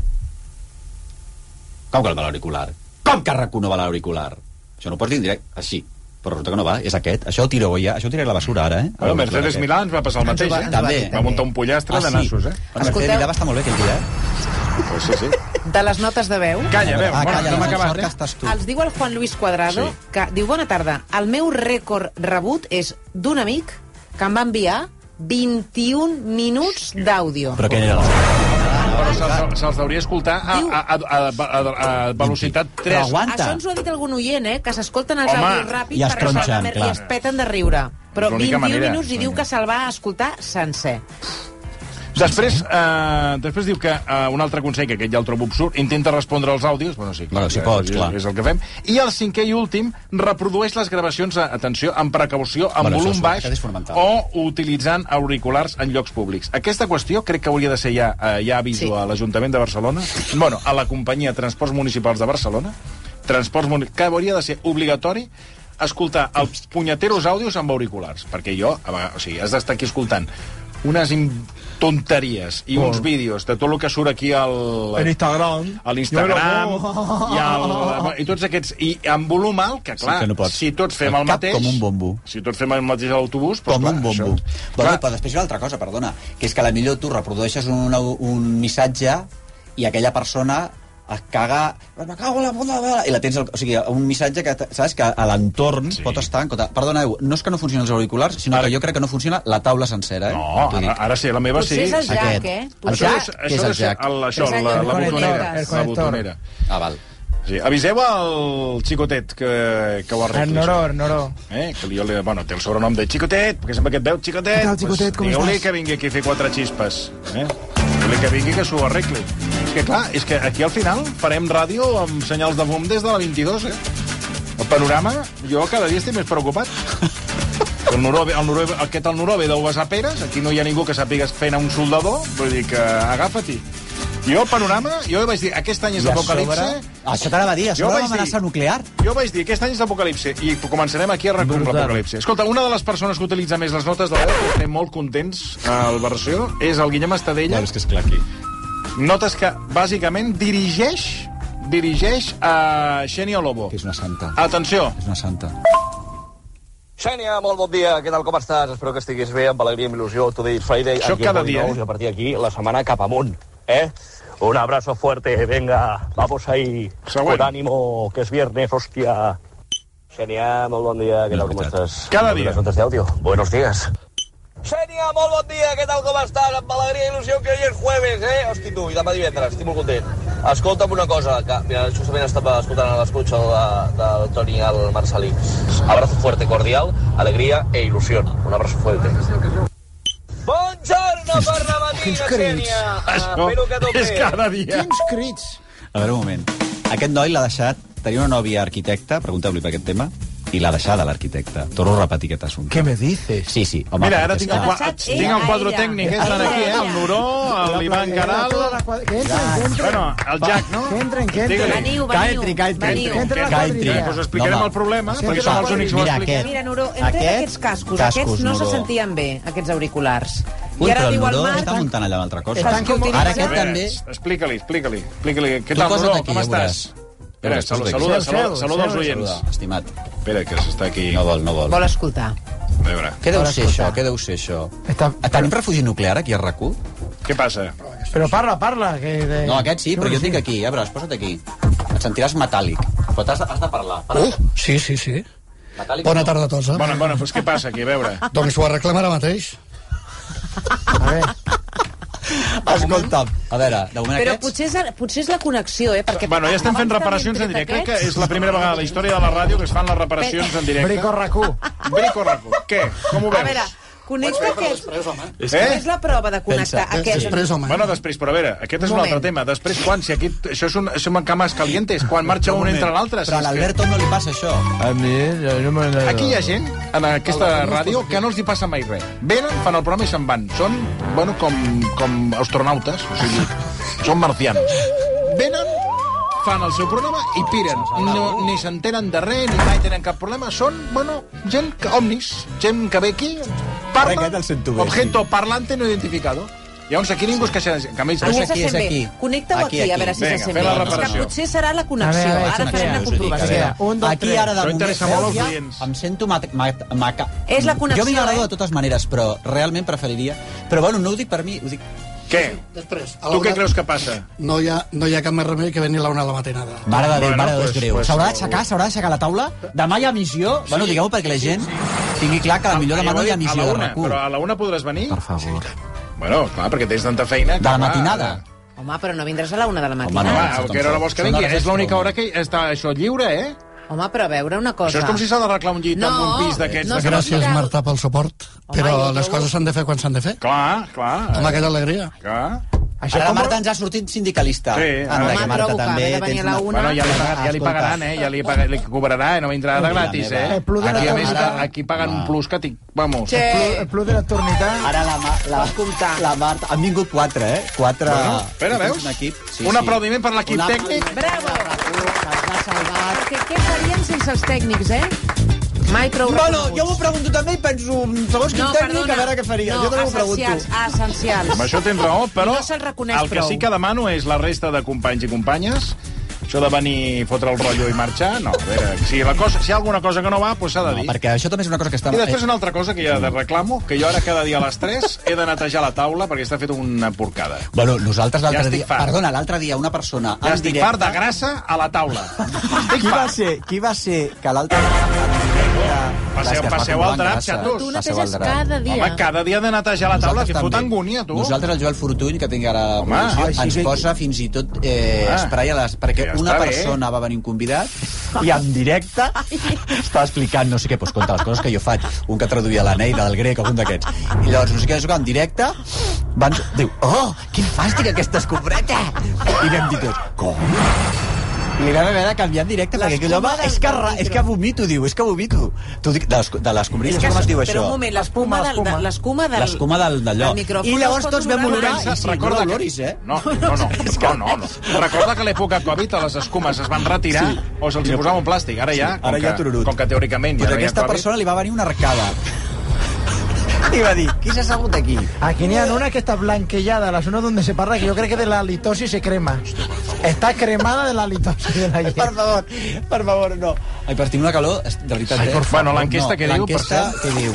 S3: com que el va l'auricular? com que RAC1 no va l'auricular? això no ho pots dir en directe, així però resulta que no va, és aquest, això ho tiro ja, això ho tiraré a la basura ara, eh?
S1: Bueno, Mercedes
S3: Aquest.
S1: Milà ens va passar el mateix,
S2: va-
S1: eh?
S2: ens
S3: va dir,
S1: va
S3: també.
S1: muntar un pollastre
S3: Ah,
S1: de
S3: sí?
S1: nassos, eh?
S3: Bueno, Mercedes Milà va estar molt bé aquell dia, eh?
S1: Pues sí, sí.
S4: De les notes de veu...
S1: Calla, veu,
S3: ah,
S1: bueno,
S3: calla,
S1: no
S3: no,
S1: m'ha acabat,
S3: sort
S1: eh?
S3: que estàs tu
S4: Els diu el Juan Luis Cuadrado,
S1: Sí.
S4: sí. que diu, bona tarda, el meu rècord rebut és d'un amic que em va enviar 21 minuts d'àudio.
S3: però que era la...
S1: Però se'ls se hauria escoltar a, a, a, a, a, a velocitat 3.
S3: però aguanta
S4: Això ens ho ha dit algun oient, eh? Que s'escolten els
S1: Home,
S4: àudios ràpid
S3: i es
S4: per
S3: tronxen,
S4: resoldre-
S3: clar.
S4: i es peten de riure. Però
S1: És l'única
S4: 21
S1: manera.
S4: minuts i diu que se'l va escoltar sencer.
S1: Després, eh, després diu que eh, un altre consell, que aquest ja el trobo absurd, intenta respondre als àudios, bueno, sí,
S3: Bueno, si
S1: eh,
S3: pots,
S1: és,
S3: clar.
S1: és el que fem, i el cinquè i últim reprodueix les gravacions, eh, atenció, amb precaució, amb
S3: Bueno, això
S1: volum
S3: és-
S1: baix
S3: això és fonamental.
S1: o utilitzant auriculars en llocs públics. Aquesta qüestió crec que hauria de ser ja, eh, ja aviso
S4: Sí.
S1: a l'Ajuntament de Barcelona, bueno, a la companyia Transports Municipals de Barcelona, Transports Muni que hauria de ser obligatori escoltar els punyeteros àudios amb auriculars, perquè jo, a vegades, o sigui, has d'estar aquí escoltant unes im- tonteries i uns vídeos de tot el que surt aquí al,
S2: En Instagram.
S1: a l'Instagram
S2: Jo era bo.
S1: i, al, i tots aquests i amb volum alt, que clar,
S3: que no pots.
S1: si tots fem
S3: El
S1: el,
S3: cap
S1: mateix
S3: com un bombo.
S1: si tots fem el mateix a l'autobús doncs
S3: com
S1: clar,
S3: un bombo.
S1: això,
S3: Però,
S1: clar,
S3: però després hi ha una altra cosa, perdona, que és que a la millor tu reprodueixes un, un missatge i aquella persona es caga... Me cago en la puta... mare", I la tens... al- O sigui, un missatge que... t- Saps? Que a l'entorn
S1: Sí.
S3: sí. pot estar... En contra... Perdoneu, no és que no funcionin els auriculars, sinó
S1: Ara-
S3: que jo crec que no funciona la taula sencera, eh?
S1: no,
S3: T'ho dic.
S1: ara, ara sí, la meva
S4: Potser
S1: sí
S4: és el jack,
S3: Aquest.
S4: eh?
S3: El
S4: Potser...
S1: això
S3: jack?
S1: és,
S3: Què és
S1: això
S3: el
S1: és
S3: jack?
S1: el, això,
S4: És el-
S1: la,
S4: el
S1: la
S4: connector,
S1: botonera.
S4: el
S1: La
S2: connector.
S1: botonera.
S3: Ah, val.
S1: Sí, aviseu al xicotet que, que ho arregli.
S2: En Noró, en Noró.
S1: això, Eh? Que jo li, bueno, té el sobrenom de xicotet, perquè sempre que et veu xicotet...
S2: Què tal, xicotet, com
S1: Digueu-li
S2: estàs?
S1: que vingui aquí a fer quatre xispes. Eh? Digueu-li que vingui que s'ho arregli. És que clar, és que aquí al final farem ràdio amb senyals de fum des de la 22, eh? El panorama, jo cada dia estic més preocupat. El Noró, ve- el Noró, ve- aquest el Noró ve deu besar peres, aquí no hi ha ningú que sàpigues fent a un soldador, vull dir que agafa-t'hi. Jo el panorama, jo vaig dir, aquest any és
S3: I a
S1: l'apocalipse,
S3: sobre- Això t'anava a dir, a
S1: Jo
S3: sobre
S1: vaig dir-
S3: l'amenaça nuclear.
S1: jo vaig dir, aquest any és l'apocalipse, i començarem aquí a recollir
S7: Brutal.
S1: l'apocalipse. Escolta, una de les persones que utilitza més les notes de veu, que estem molt contents al versió, és el Guillem Estadella.
S6: és que és clar aquí.
S1: Notes que, bàsicament, dirigeix dirigeix a Xenia Lobo.
S3: Que és una santa.
S1: Atenció.
S3: És una santa.
S8: Xènia, molt bon dia. Què tal, com estàs? Espero que estiguis bé, amb alegria i amb il·lusió. Tu dius Friday,
S1: Això
S8: aquí
S1: cada
S8: el
S1: dia,
S8: Nous,
S1: eh?
S8: I a partir d'aquí, la setmana cap amunt, eh? Un abrazo fuerte, venga, vamos ahí.
S1: Següent.
S8: Con ánimo, que es viernes, hòstia. Xènia, molt bon dia. Què
S3: No,
S8: tal, com
S3: què tal?
S8: estàs?
S1: Cada
S8: Molt bé,
S1: dia.
S8: les notes d'àudio. Buenos días. Xènia, molt bon dia, què tal, com estàs? Amb alegria i il·lusió que hoy és jueves, eh? Hosti, tu, i demà divendres, estic molt content. Escolta'm una cosa, que mira, justament estava escoltant a l'escutxa de, de Toni al Marcelí. Abrazo fuerte, cordial, alegria e il·lusió. Un abrazo fuerte. Buongiorno per la
S2: Quins
S8: mattina,
S2: crits.
S8: Xènia.
S1: Això
S8: Espero ah, que tope.
S1: és cada dia.
S2: Quins crits.
S3: A veure, un moment. Aquest noi l'ha deixat... Tenia una nòvia arquitecta, pregunteu-li per aquest tema,
S6: i l'ha deixada l'arquitecte. Torno a repetir aquest assumpte.
S2: ¿Qué me dices?
S6: Sí, sí, home,
S1: Mira, ara
S6: perquè és
S1: tinc el,
S6: que-
S1: qua-
S4: Avançat,
S1: tinc el
S4: ella,
S1: quadro
S4: ella.
S1: tècnic, eh? Estan aquí, eh? El Nuró, l'Ivan Caral...
S2: Que entren, que entren.
S1: Bueno, el Jack, no?
S2: Que entren, que entren.
S1: Digue-li.
S4: Veniu, veniu.
S7: Calla, calla, calla.
S4: veniu.
S2: Que entren la
S1: Que entri.
S2: quadrilla.
S1: Doncs us explicarem
S3: Home.
S1: el problema,
S2: Sí,
S1: perquè
S2: entren
S1: som
S2: la
S1: els únics que ho
S3: Mira,
S1: expliquem.
S4: Mira, Nuró, hem tret
S3: Aquests
S4: aquests cascos.
S3: cascos,
S4: Aquests no se
S3: Nuró.
S4: sentien bé, aquests auriculars.
S3: Ui,
S4: I ara
S3: però el
S4: diu el
S3: Nuró
S4: Marc...
S3: està muntant allà una altra cosa.
S4: Estan com-
S1: A
S3: Ara aquest
S1: veure,
S3: també...
S1: Explica-li, explica-li. Explica-li. Què
S3: Tu
S1: tal,
S3: posa't
S1: Nuró?
S3: aquí,
S1: Com
S3: ja
S1: estàs?
S3: veuràs.
S1: Espera,
S3: Veuràs, posa't
S1: saluda,
S3: aquí.
S1: saluda,
S2: Seu,
S1: saluda,
S2: seu,
S1: saluda els
S2: seu,
S1: oients.
S3: Saluda, Estimat.
S1: Espera, que s'està aquí...
S3: No vol, no vol.
S4: Vol escoltar.
S1: A veure,
S3: Què deu
S2: Vol
S3: ser
S2: escoltar.
S3: això? Què deu ser això?
S2: Està-
S3: Tenim refugi nuclear aquí a rac
S1: què passa?
S4: Ah.
S2: Però parla, parla. Que
S9: Eh,
S2: de...
S3: No, aquest sí, però jo tinc aquí. A veure, posa't aquí. Et sentiràs metàl·lic. Però t'has de, has de parlar.
S9: Uh, sí, sí, sí.
S3: Metàl·lic
S9: Bona
S3: no.
S9: tarda a tots, eh?
S1: Bona, bona, doncs què passa aquí? A veure.
S9: Doncs ho arreglem ara mateix.
S2: A veure,
S3: Escolta, a veure, de moment
S4: Però
S3: aquests...
S4: potser és, potser és la connexió, eh? Perquè
S1: Bueno, ja estem fent
S4: abans també
S1: reparacions
S4: hem
S1: en
S4: tret
S1: directe. Crec que
S4: aquests.
S1: és la primera vegada a la història de la ràdio que es fan les reparacions en directe.
S2: Brico Racú.
S1: Brico Raco. Què? Com ho
S4: A
S1: veus?
S4: veure, connecta aquest...
S1: Eh?
S4: És la prova de connectar
S3: Pensa,
S4: aquest...
S9: Després, home.
S1: Bueno, després, però a veure, aquest és un,
S4: Un
S1: altre
S4: moment.
S1: tema. Després, quan? Si aquí, això és un, som en cames calientes. Quan marxa un entre l'altre? Si
S3: Però a
S1: és que-
S3: l'Alberto no li passa això.
S2: A mi, no me
S1: Aquí hi ha gent, en aquesta ràdio, que no els hi passa mai res. Venen, fan el programa i se'n van. Són, bueno, com, com astronautes, o sigui, són marcians. Venen, fan el seu programa i piren.
S3: eh?
S1: No, ni s'entenen de res, ni mai tenen cap problema. Són, bueno, gent que, omnis, gent que ve aquí, parla,
S3: Aquest el sento bé,
S1: objeto parlante no identificado. Llavors aquí ningú es queixa de gent. En canvi,
S4: A mi
S3: És
S4: se
S3: aquí,
S4: sent
S3: és
S4: bé.
S3: aquí.
S4: Connecta-ho
S3: Aquí,
S4: aquí, a
S3: aquí.
S4: veure si
S1: Vinga,
S4: se sent
S1: fem
S4: bé.
S1: la
S4: És que
S1: reparació.
S4: potser serà la connexió.
S2: A veure,
S4: Ara
S2: a
S4: farem
S2: veure,
S4: la
S2: us ho dic,
S4: comprovació.
S2: a veure. Un, dos,
S3: Aquí
S2: tres.
S3: ara de
S1: Això
S3: moment...
S1: interessa molt als
S3: Cèlia,
S1: oients.
S3: Em sento ma ma maca...
S4: És la connexió,
S3: Jo m'hi agrada
S4: eh?
S3: de totes maneres, però realment preferiria... Però bueno, no ho dic per mi, ho dic...
S1: què?
S9: Després, a la
S1: Tu què
S9: una-
S1: creus que passa?
S9: No hi ha, no hi ha cap més remei que venir a la una de la matinada.
S3: Mare de Déu,
S1: Bueno,
S3: mare de Déu, és
S1: pues-
S3: greu.
S1: pues-
S3: S'haurà d'aixecar, s'haurà d'aixecar la taula. Demà hi ha missió. Bueno, digueu perquè la gent tingui clar que la millor demà no hi ha
S1: a
S3: missió
S1: la
S3: de
S1: una,
S3: recurs.
S1: però a la una podràs venir?
S3: Per favor.
S1: Bueno, clar, perquè tens tanta feina...
S3: De la matinada.
S4: Home, però no vindràs a la una de la
S3: Home,
S4: matinada.
S3: no.
S1: Ah, que era la vols que
S3: Són
S1: vingui.
S3: hores
S1: És l'única
S3: extra,
S1: hora que està això lliure, eh?
S4: Home, però a veure una cosa.
S1: Això és com si s'ha d'arreglar un llit
S4: No,
S1: amb un pis d'aquests.
S4: no,
S1: de gran-
S9: Gràcies,
S4: Mira-
S9: Marta, pel suport, però
S4: jo-
S9: les
S4: jo-
S9: coses s'han de fer quan s'han de fer.
S1: Clar, clar. eh,
S9: Amb aquella alegria.
S1: clar.
S3: Això Ara la Marta ens ha sortit sindicalista.
S1: Sí,
S3: Anda,
S1: home,
S3: que
S4: trobo
S3: Marta
S4: que
S3: també
S4: haver de venir
S3: tens
S4: a la
S3: una...
S4: una-
S1: Bueno, ja li, pagaran, ja li
S3: Escolta.
S1: pagaran, eh? Ja li, paga, li cobrarà, eh? No vindrà de
S3: Mira,
S1: gratis,
S3: meva.
S1: eh?
S2: El plus de la
S1: Aquí, a més,
S2: tornada.
S1: aquí paguen un
S3: Va.
S1: plus que tinc... Vamos. Ah.
S4: Sí.
S2: El plus de l'eternitat.
S3: Ara la, Ma- la,
S4: Pots comptar.
S3: la Marta... Han vingut quatre, eh? Quatre...
S1: Bueno, espera,
S3: Tens
S1: veus?
S3: Un, equip.
S1: Un aplaudiment per l'equip
S3: Un
S1: tècnic.
S3: aplaudiment.
S4: Bravo!
S3: Ens ha salvat.
S4: Perquè què faríem sense els tècnics, eh? Mai prou
S3: Bueno,
S4: reconeguts.
S3: jo m'ho pregunto també i penso, mm, segons quin
S4: No,
S3: tècnic,
S4: perdona.
S3: a veure què faria.
S4: No,
S3: jo també m'ho
S4: essencials,
S3: pregunto.
S4: essencials.
S1: Amb això tens raó, però
S4: No se'l reconeix
S1: el que
S4: prou.
S1: sí que demano és la resta de companys i companyes això de venir, fotre el rotllo i marxar, no. A veure, si, la cosa, si hi ha alguna cosa que no va, doncs s'ha de
S3: No,
S1: dir.
S3: perquè això també és una cosa que està... eh,
S1: I després una altra cosa que ja de reclamo, que jo ara cada dia a les 3 he de netejar la taula perquè està fet una porcada.
S3: Bueno, nosaltres
S1: Ja
S3: l'altre
S1: estic
S3: dia...
S1: fart.
S3: Perdona, l'altre dia una persona...
S1: Ja
S3: en
S1: estic
S3: directe-
S1: part de grassa a la taula. Estic
S3: Qui va
S1: part.
S3: ser, qui va ser que l'altre...
S1: Passeu- passeu al drap, xatos.
S4: Tu neteges cada dia.
S1: Home, cada dia he de netejar la taula, que fot angúnia, tu.
S3: Nosaltres, el Joel Fortuny, que tinc ara...
S1: Home,
S3: producció,
S1: ai, sí,
S3: ens
S1: sí.
S3: posa fins i tot eh,
S1: Home.
S3: spray a les... Perquè
S1: Ja
S3: una
S1: està bé.
S3: persona va venir un convidat i en directe estava explicant, no sé què, doncs conta les coses que jo faig. Un que traduïa la Neida del grec, algun d'aquests. I llavors, no sé què, no sé què, en directe van... Diu, oh, quin fàstic aquesta escombreta! I vam dir tots, com? Li vam haver de canviar en directe perquè aquell home...
S4: L'escuma del
S3: És que, ra-
S4: micro.
S3: és que vomito, diu, és que vomito. Tu dic, de les, de les
S4: És
S3: combrilles,
S4: que,
S3: com es diu això?
S4: Però un moment, l'escuma del, de- l'escuma del,
S3: L'escuma del- d'allò.
S4: micròfon
S3: I llavors
S4: es pot
S3: tots vam
S4: olorar.
S3: olorar.
S1: Pensa,
S3: sí, sí,
S1: recorda
S3: no
S1: que-
S3: l'oloris, eh?
S1: No, no, no, no, no, no. Recorda que a l'època Covid a les escumes es van retirar
S3: Sí.
S1: o se'ls hi posava un plàstic. Ara ja, com,
S3: ara ja
S1: que,
S3: tururut.
S1: com que teòricament ja
S3: Doncs
S1: no hi ha
S3: aquesta
S1: Covid...
S3: persona li va venir una arcada. I va dir, qui s'ha assegut aquí?
S2: Aquí n'hi ha una que està blanquejada, la zona on se parla, que jo crec que de la litosi se crema. Està cremada de la litosi de la
S3: Per
S2: gent.
S3: favor, per favor, no. Ai, però tinc una calor, es- de veritat,
S1: Ai,
S3: eh?
S1: por favor, bueno, l'enquesta què diu, per
S3: L'enquesta
S1: cert?
S3: què diu?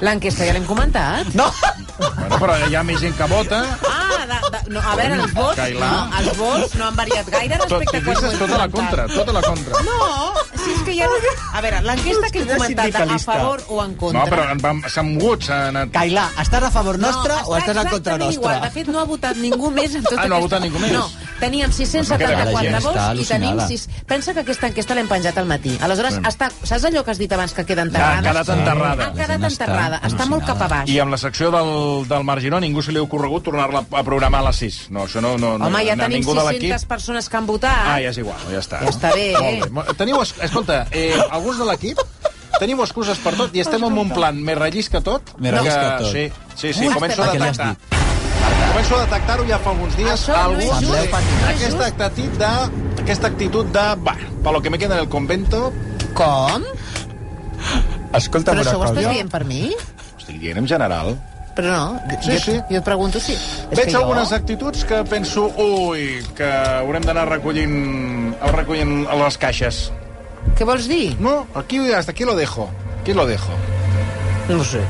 S4: L'enquesta ja l'hem comentat.
S3: No!
S1: Bueno, però hi ha més gent que vota.
S4: Ah, de, de, no, a veure, els vots, no,
S1: Cailà.
S4: els vots no han variat gaire
S1: Tot, si
S4: respecte a quan ho
S1: dices,
S4: hem
S1: tota la
S4: comentat.
S1: contra, tota la contra.
S4: No, si és que ja... No... A veure, l'enquesta que hem
S3: Hòstia,
S4: comentat, a
S3: sindicalista.
S4: favor o en contra?
S1: No, però en vam- s'ha mogut, s'ha anat...
S3: Cailà, estàs a favor nostre
S4: està
S3: o estàs en contra
S4: exactament
S3: nostra?
S4: Igual. De fet, no ha votat ningú més en tota
S1: Ah, no ha
S4: aquesta-
S1: votat ningú més?
S4: No, Teníem
S3: La gent
S4: 674
S3: està
S4: vots i tenim
S3: al·lucinada.
S4: 6... Pensa que aquesta enquesta l'hem penjat al matí. Aleshores,
S1: Bueno.
S4: està... saps allò que has dit abans que queda
S1: Ha
S4: enterrada?
S1: quedat enterrada.
S4: Ha quedat enterrada. Està molt cap a baix.
S1: I amb la secció del, del Mar Giró ningú se li ha ocorregut tornar-la a programar a les 6. No, això no... no
S4: Home, ja
S1: no,
S4: tenim
S1: ningú de l'equip-
S4: 600 persones que han votat.
S1: Ah, ja és igual, ja està.
S4: Ja està bé, eh?
S1: Molt bé. Teniu, es- escolta, eh, alguns de l'equip teniu excuses per tot i estem en un plan més rellis que tot.
S3: Més rellis que tot.
S1: Sí, sí, sí
S4: Ui,
S1: començo a
S4: espera.
S1: detectar. Començo a detectar-ho ja fa alguns dies.
S4: Això no és
S3: just, Sembleu patinar.
S4: no és
S1: aquesta
S4: just.
S1: actitud de... Aquesta actitud de... Va, pa lo que me queda en el convento...
S4: Com?
S6: Escolta'm
S4: Però
S6: una
S4: això ho estàs
S6: cosa.
S4: dient per mi?
S1: Ho estic dient en general.
S4: Però no,
S1: Sí,
S4: jo,
S1: sí.
S4: jo et pregunto si... És
S1: Veig
S4: que jo-
S1: algunes actituds que penso... Ui, que haurem d'anar recollint, recollint a les caixes.
S4: Què vols dir?
S1: No, aquí, hasta aquí lo dejo. Aquí lo dejo.
S4: No ho sé.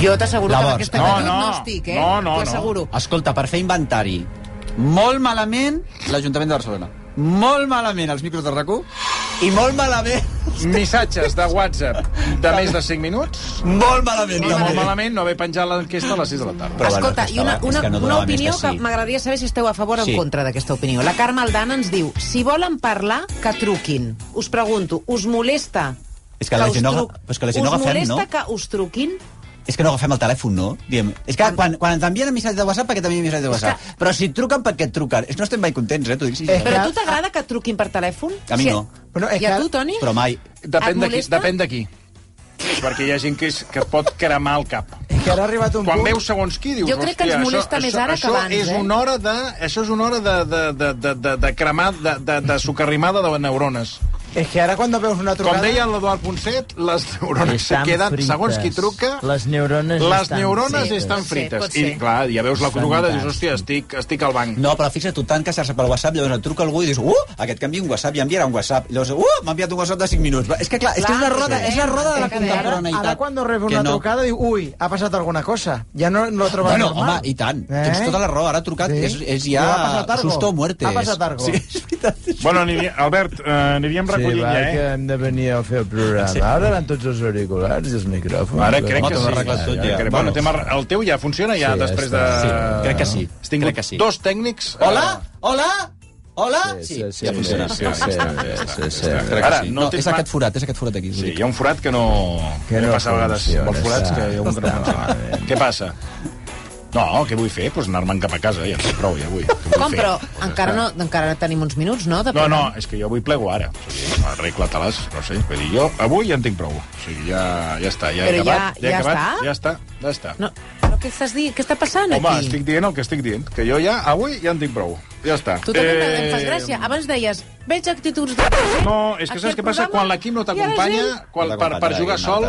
S4: Jo t'asseguro que
S3: Llavors,
S4: amb aquesta
S1: no,
S4: actitud no,
S1: no.
S4: estic, eh?
S1: No, no,
S4: T'ho asseguro.
S3: Escolta, per fer inventari, molt malament l'Ajuntament de Barcelona. Molt malament els micros de rac i molt malament,
S1: Missatges de WhatsApp de més de 5 minuts.
S3: molt malament
S1: I molt
S3: també.
S1: malament no haver penjat l'enquesta a les 6 de la tarda.
S3: Però bueno,
S4: Escolta,
S3: ja
S4: i una,
S3: estava, és
S4: una,
S3: que no
S4: una
S3: donava més
S4: opinió
S3: de
S4: que
S3: sí.
S4: m'agradaria saber si esteu a favor o en
S3: Sí.
S4: contra d'aquesta opinió. La Carme Aldana ens diu, si volen parlar, que truquin. Us pregunto, us molesta
S3: És que la
S4: us
S3: gent no aga-
S4: tru-
S3: però és que la gent no
S4: us
S3: agafem,
S4: molesta
S3: no?
S4: que us truquin?
S3: És que no agafem el telèfon, no? Diem, és que quan, quan ens envien missatges de WhatsApp, perquè t'envien missatges de
S4: És que-
S3: WhatsApp. Però si et truquen, perquè et truquen. És que no estem mai contents, eh? T'ho dic
S2: Eh,
S4: Però
S3: sincerament.
S4: a tu t'agrada que et truquin per telèfon?
S3: A mi
S4: Eh, Sí.
S3: no.
S2: Bueno, és
S4: I a
S2: que-
S4: tu, Toni?
S3: Però mai.
S4: Et
S1: Depèn de qui.
S4: molesta?
S1: Depèn de qui. Perquè hi ha gent que, és, que et pot cremar el cap.
S2: És que ara ha arribat un
S1: Quan
S2: punt...
S1: veus segons qui, dius...
S4: Jo crec que ens
S1: "Hòstia,
S4: molesta
S1: això,
S4: més
S1: això,
S4: ara que
S1: això
S4: abans,
S1: és
S4: eh?"
S1: Una hora de, això és una hora de, de, de, de, de, de cremar, de, de, de sucarrimada de neurones.
S2: És que ara quan veus una trucada...
S1: Com deia l'Eduard Ponset, les neurones se
S7: Estan
S1: queden,
S7: frites.
S1: segons qui truca...
S7: Les neurones
S1: les
S7: estan
S1: neurones
S7: frites.
S1: estan
S4: Pot ser,
S1: frites.
S4: pot ser.
S1: I, clar, ja veus la trucada i dius,
S7: Fantàstic.
S1: hòstia, estic, estic al banc.
S3: No, però fixa't, tu tant que se per WhatsApp, llavors et truca algú i dius, uh, aquest que envia un WhatsApp, ja enviarà un WhatsApp. I Llavors, uh, m'ha enviat un WhatsApp de 5 minuts. Va, És que clar, és que és la
S4: Clar,
S3: roda,
S4: sí.
S3: és la roda de la
S4: És que ara- ara
S3: contemporaneïtat.
S2: Ara quan rebo
S3: Que
S2: una
S3: no.
S2: trucada diu, ui, ha passat alguna cosa. Ja no, no ho trobes
S3: Bueno,
S2: normal.
S3: home, i tant. Eh? Tens tota la raó. Ara ha trucat, sí. és, és ja
S2: Diu, "Ha passat algo".
S3: susto o muerte.
S2: Ha passat algo.
S3: Sí, és veritat.
S1: Bueno, aniria- Albert, eh, aniríem recollint ja, eh?
S7: hem de venir a fer el programa. Sí. Ara van tots els auriculars i els micròfons.
S1: Ara crec
S3: Home,
S1: que
S3: t'ho
S1: sí.
S3: hem arreglat tot, ja.
S1: Crec-
S3: Bueno.
S1: Bueno, tema, el teu ja funciona ja
S7: Sí, ja
S1: després de...
S7: està.
S3: Sí, crec que sí.
S1: Has tingut
S3: Crec que sí.
S1: Eh, dos tècnics... eh,
S3: Hola? Hola? Hola?
S7: Sí, sí, sí,
S3: ja funciona.
S7: sí, sí, sí, sí, sí.
S3: Crec que
S1: Ara,
S3: sí.
S1: no
S3: No,
S1: tens
S3: és
S1: mà-
S3: aquest forat, és aquest forat aquí.
S1: Sí, hi ha un forat que no...
S7: Que no
S1: passa a vegades
S7: funciona,
S1: molts forats
S7: està-
S1: que hi ha un que no funciona. Què passa? No, què vull fer? Doncs pues anar-me'n cap a casa, ja en sé prou, ja vull. Què vull
S4: Com,
S1: fer?
S4: però
S1: Pues
S4: encara, no,
S3: Ah.
S1: està.
S4: encara tenim uns minuts, no? de
S1: No, no,
S4: programa?
S1: és que jo avui plego ara. O sigui, Arregla-te-les, no sé. Vull dir, jo avui ja en tinc prou. O sigui, ja, ja està, ja he
S4: Però ja-
S1: acabat. he
S4: ja
S1: acabat,
S4: està?
S1: Ja està, ja està.
S4: No, però què estàs dient? Què està passant
S1: Home,
S4: aquí?
S1: estic dient el que estic dient, que jo ja, avui, ja en tinc prou. Ja està.
S4: Tu també eh... em fas gràcia. Abans deies, veig actituds de...
S1: No, és que
S4: Aquí
S1: saps
S4: al
S1: què passa?
S4: programa,
S1: Quan l'equip no
S4: i ara
S1: t'acompanya,
S4: gent-
S1: quan- per, per jugar sol...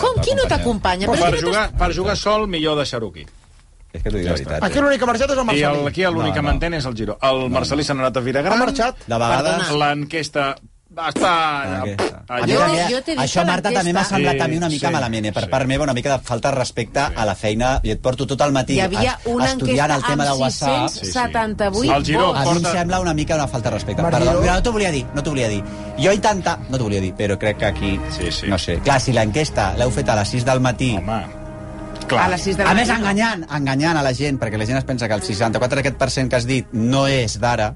S4: Com, qui no t'acompanya? Però
S1: Per
S4: si no
S1: jugar, per jugar sol, millor deixar-ho aquí.
S6: És que t'ho dic la
S3: eh?
S6: veritat.
S2: Aquí l'únic que ha marxat és el
S1: I el,
S2: Marcelí.
S1: aquí l'únic
S6: No,
S1: que
S6: no.
S1: mantén és el Giro. El Marcelí s'ha anat a Vilagrana.
S2: Ha marxat.
S3: De vegades... Ah,
S4: Perdona.
S1: L'enquesta està ah,
S6: Aquesta.
S1: allà.
S3: A mi
S4: Jo-
S1: allà.
S3: també,
S4: jo t'he dit
S3: això,
S4: que
S3: Marta,
S4: l'enquesta-
S3: també m'ha semblat
S1: Sí,
S3: a mi una mica
S1: sí,
S3: malament, eh? Per
S1: sí.
S3: part meva, una mica de falta de respecte a la feina, i et porto tot el matí
S4: Hi havia
S3: es-
S4: una
S3: estudiant
S4: enquesta
S3: el tema de
S4: amb
S3: WhatsApp.
S1: sí.
S4: 678
S1: El Giró.
S4: vots.
S3: A mi em
S1: Porta-
S3: sembla una mica una falta de respecte.
S2: Marc
S3: Perdó,
S2: Giró.
S3: no t'ho volia dir, no t'ho volia dir. Jo he intentat... No t'ho volia dir, però crec que aquí...
S1: Sí, sí.
S3: No sé. Clar, si l'enquesta l'heu fet a les 6 del matí...
S1: Home, clar.
S4: A les 6 de la
S3: A més,
S4: matina.
S3: enganyant, enganyant a la gent, perquè la gent es pensa que el 64% que has dit no és d'ara,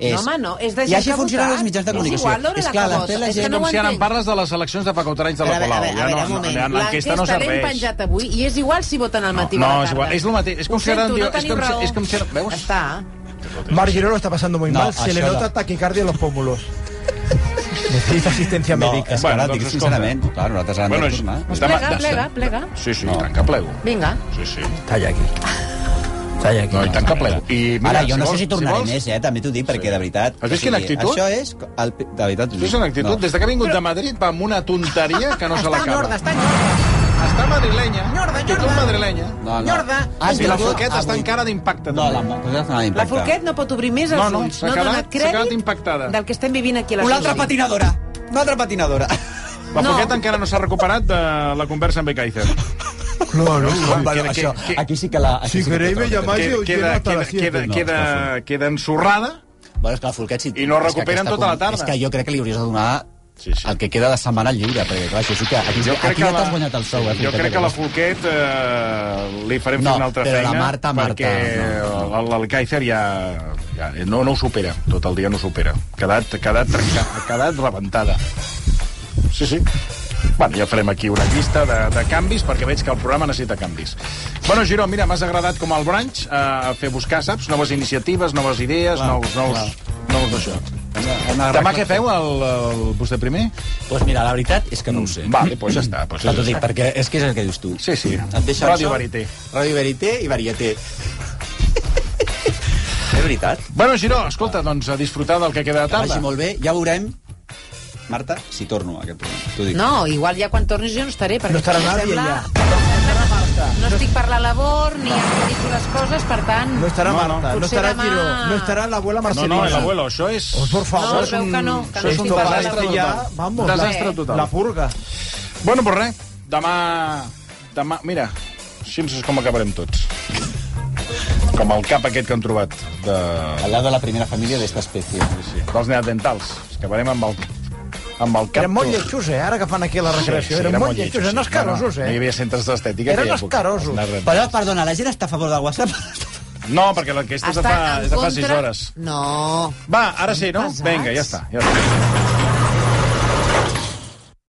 S3: és...
S4: No, home, no, és de
S3: I
S4: gent
S3: així
S4: que ha
S3: funcionen
S4: votat.
S3: els mitjans de
S4: És
S3: comunicació.
S4: igual l'hora
S3: clar,
S4: que
S3: la
S4: vota.
S3: fe la
S4: És que
S3: gent...
S4: no
S1: Com si ara
S4: entenc.
S1: em parles de les eleccions de fa 4 anys de la
S3: Però a veure,
S1: Colau.
S3: a veure,
S1: Ja
S3: a
S1: no,
S3: veure, un
S1: no,
S3: moment.
S1: l'enquesta no
S4: l'hem
S1: serveix.
S4: penjat avui i és igual si voten al matí
S1: no,
S4: o a la
S1: és
S4: tarda.
S1: igual, és el mateix, és com
S4: Ho
S1: si ara
S4: sento,
S1: em diu-
S4: no
S1: és
S4: teniu
S1: com si-
S4: raó.
S1: és com si ara- veus?
S4: Està.
S2: Marc Giró lo está pasando muy
S3: No,
S2: mal, se le
S3: això
S2: nota
S3: no.
S2: taquicardia en los pómulos. Necesita asistencia
S3: No, eh,
S2: médica.
S3: és que ara
S1: Bueno,
S3: et dic
S1: doncs,
S3: sincerament.
S1: escolta.
S3: Clar, nosaltres ara hem
S1: Bueno,
S3: de tornar.
S1: és-
S4: Plega,
S1: Demà-
S4: plega, plega.
S1: Sí, sí, i tant que plego.
S4: Vinga.
S1: Sí, sí.
S7: Talla aquí. Talla aquí.
S1: No, i tant que plego. I mira,
S3: Mira, Ara, jo no
S1: vols-
S3: sé si tornaré
S1: vols-
S3: més, eh? També t'ho dic, perquè de veritat...
S1: Has vist quina actitud?
S3: Això és... El... De veritat, t'ho
S1: Tu és una actitud, des de que ha vingut de Madrid, va amb una tonteria que no se
S2: Está
S1: l'acaba.
S2: ñorda, está ñorda.
S1: Està madrilenya.
S2: Ñorda,
S1: Actitud
S2: ñorda.
S1: madrilenya.
S3: No, no. Ah,
S2: Ñorda.
S3: Has
S1: I Ah, la
S3: vingut
S1: Forquet està
S3: avui.
S1: encara d'impacte.
S3: No,
S1: també.
S3: la Forquet està
S4: La
S3: d'impacte.
S4: Forquet no pot obrir més els
S1: No, no,
S4: ulls.
S1: s'ha
S4: ha
S1: quedat-
S4: donat
S1: s'ha
S4: crèdit
S1: quedat impactada.
S4: Del que estem vivint aquí a la
S3: Una altra
S4: Susi.
S3: patinadora. Una altra patinadora.
S1: La
S4: No.
S1: Forquet encara no s'ha recuperat de la conversa amb Becaizer.
S7: Claro.
S3: bueno,
S1: que-
S3: això,
S1: que-
S3: aquí sí que la... Aquí
S7: Si queréis me
S3: trobo.
S7: llamáis, yo llego
S1: Queda,
S7: hasta
S1: queda,
S7: las siete.
S1: queda,
S3: No, està
S1: queda, queda ensorrada.
S3: Bueno, és que la Forquet... Si...
S1: I no
S3: és que
S1: recuperen
S3: aquesta
S1: tota la
S3: com-
S1: tarda.
S3: És que jo crec que li hauries de donar Sí, sí. El que queda de setmana lliure, perquè clar, això sí que aquí,
S1: Jo crec
S3: aquí
S1: que
S3: ja
S1: la-
S3: t'has guanyat el sou. Eh,
S1: Jo
S3: Frontera,
S1: crec que la
S3: vas-
S1: Folquet eh, li farem
S3: No,
S1: fer una altra
S3: però la
S1: feina.
S3: Marta, Marta,
S1: Perquè no. l'Alcáicer ja, ja no, no ho supera. Tot el dia no ho supera. Ha quedat, ha quedat, trenca, ha quedat rebentada. Sí, sí. Bueno, ja farem aquí una llista de, de canvis, perquè veig que el programa necessita canvis. Bueno, Giró, mira, m'has agradat com el brunch, eh, fer buscar, saps? Noves iniciatives, noves idees, clar, nous... nous... nous d'això. Demà què feu, el, el, vostè primer?
S10: Pues mira, la veritat és que no ho sé.
S1: Vale, pues ja està. Pues
S10: Però t'ho dic, perquè és que és el que dius tu.
S1: Sí, sí.
S10: Et deixa
S1: Ràdio Verité.
S10: Ràdio Verité i Varieté. és veritat.
S1: Bueno, Giró, escolta, doncs a disfrutar del que queda de
S3: Que
S1: tarda.
S3: vagi molt bé, ja veurem, Marta, si torno a aquest programa. T'ho dic.
S4: No, igual ja quan tornis jo no estaré, perquè
S3: No estarà
S4: em
S3: nadie
S4: sembla-
S3: allà.
S4: No estic per la labor, ni he dit les coses, per tant...
S2: No estarà Marta, no,
S4: potser
S2: estarà
S4: demà-
S2: Giró, no estarà l'abuela Marcelina.
S1: No, no, el abuelo, això és...
S2: Oh, por favor.
S1: Això és
S2: No, es veu que no, que
S1: això
S2: no
S1: és un
S2: estic parlant
S1: desastre
S2: amb ella.
S1: total.
S2: Vamos,
S1: desastre
S2: la-
S1: total.
S2: la purga.
S1: Bueno, però res, demà... Demà, mira, així és com acabarem tots. Com el cap aquest que han trobat. De...
S3: Al lado de la primera família d'esta espècie.
S1: Sí, sí. Dels neandertals. Acabarem amb el, amb el cap...
S2: Eren molt
S1: tot.
S2: lletjos, eh, ara que fan aquí la recreació.
S1: Sí, sí,
S2: Eren molt lletjos, eren escarosos,
S1: No, no, no hi
S2: eh.
S1: havia centres d'estètica.
S2: Eren
S1: en aquella època.
S2: escarosos.
S1: Els neandertals.
S3: Però, perdona, la gent està a favor del WhatsApp?
S1: No, perquè aquesta és de
S4: Estan
S1: fa,
S4: en
S1: és de fa 6
S4: contra-
S1: hores.
S4: No.
S1: Va, ara sí, no? Vinga, ja està. Ja està.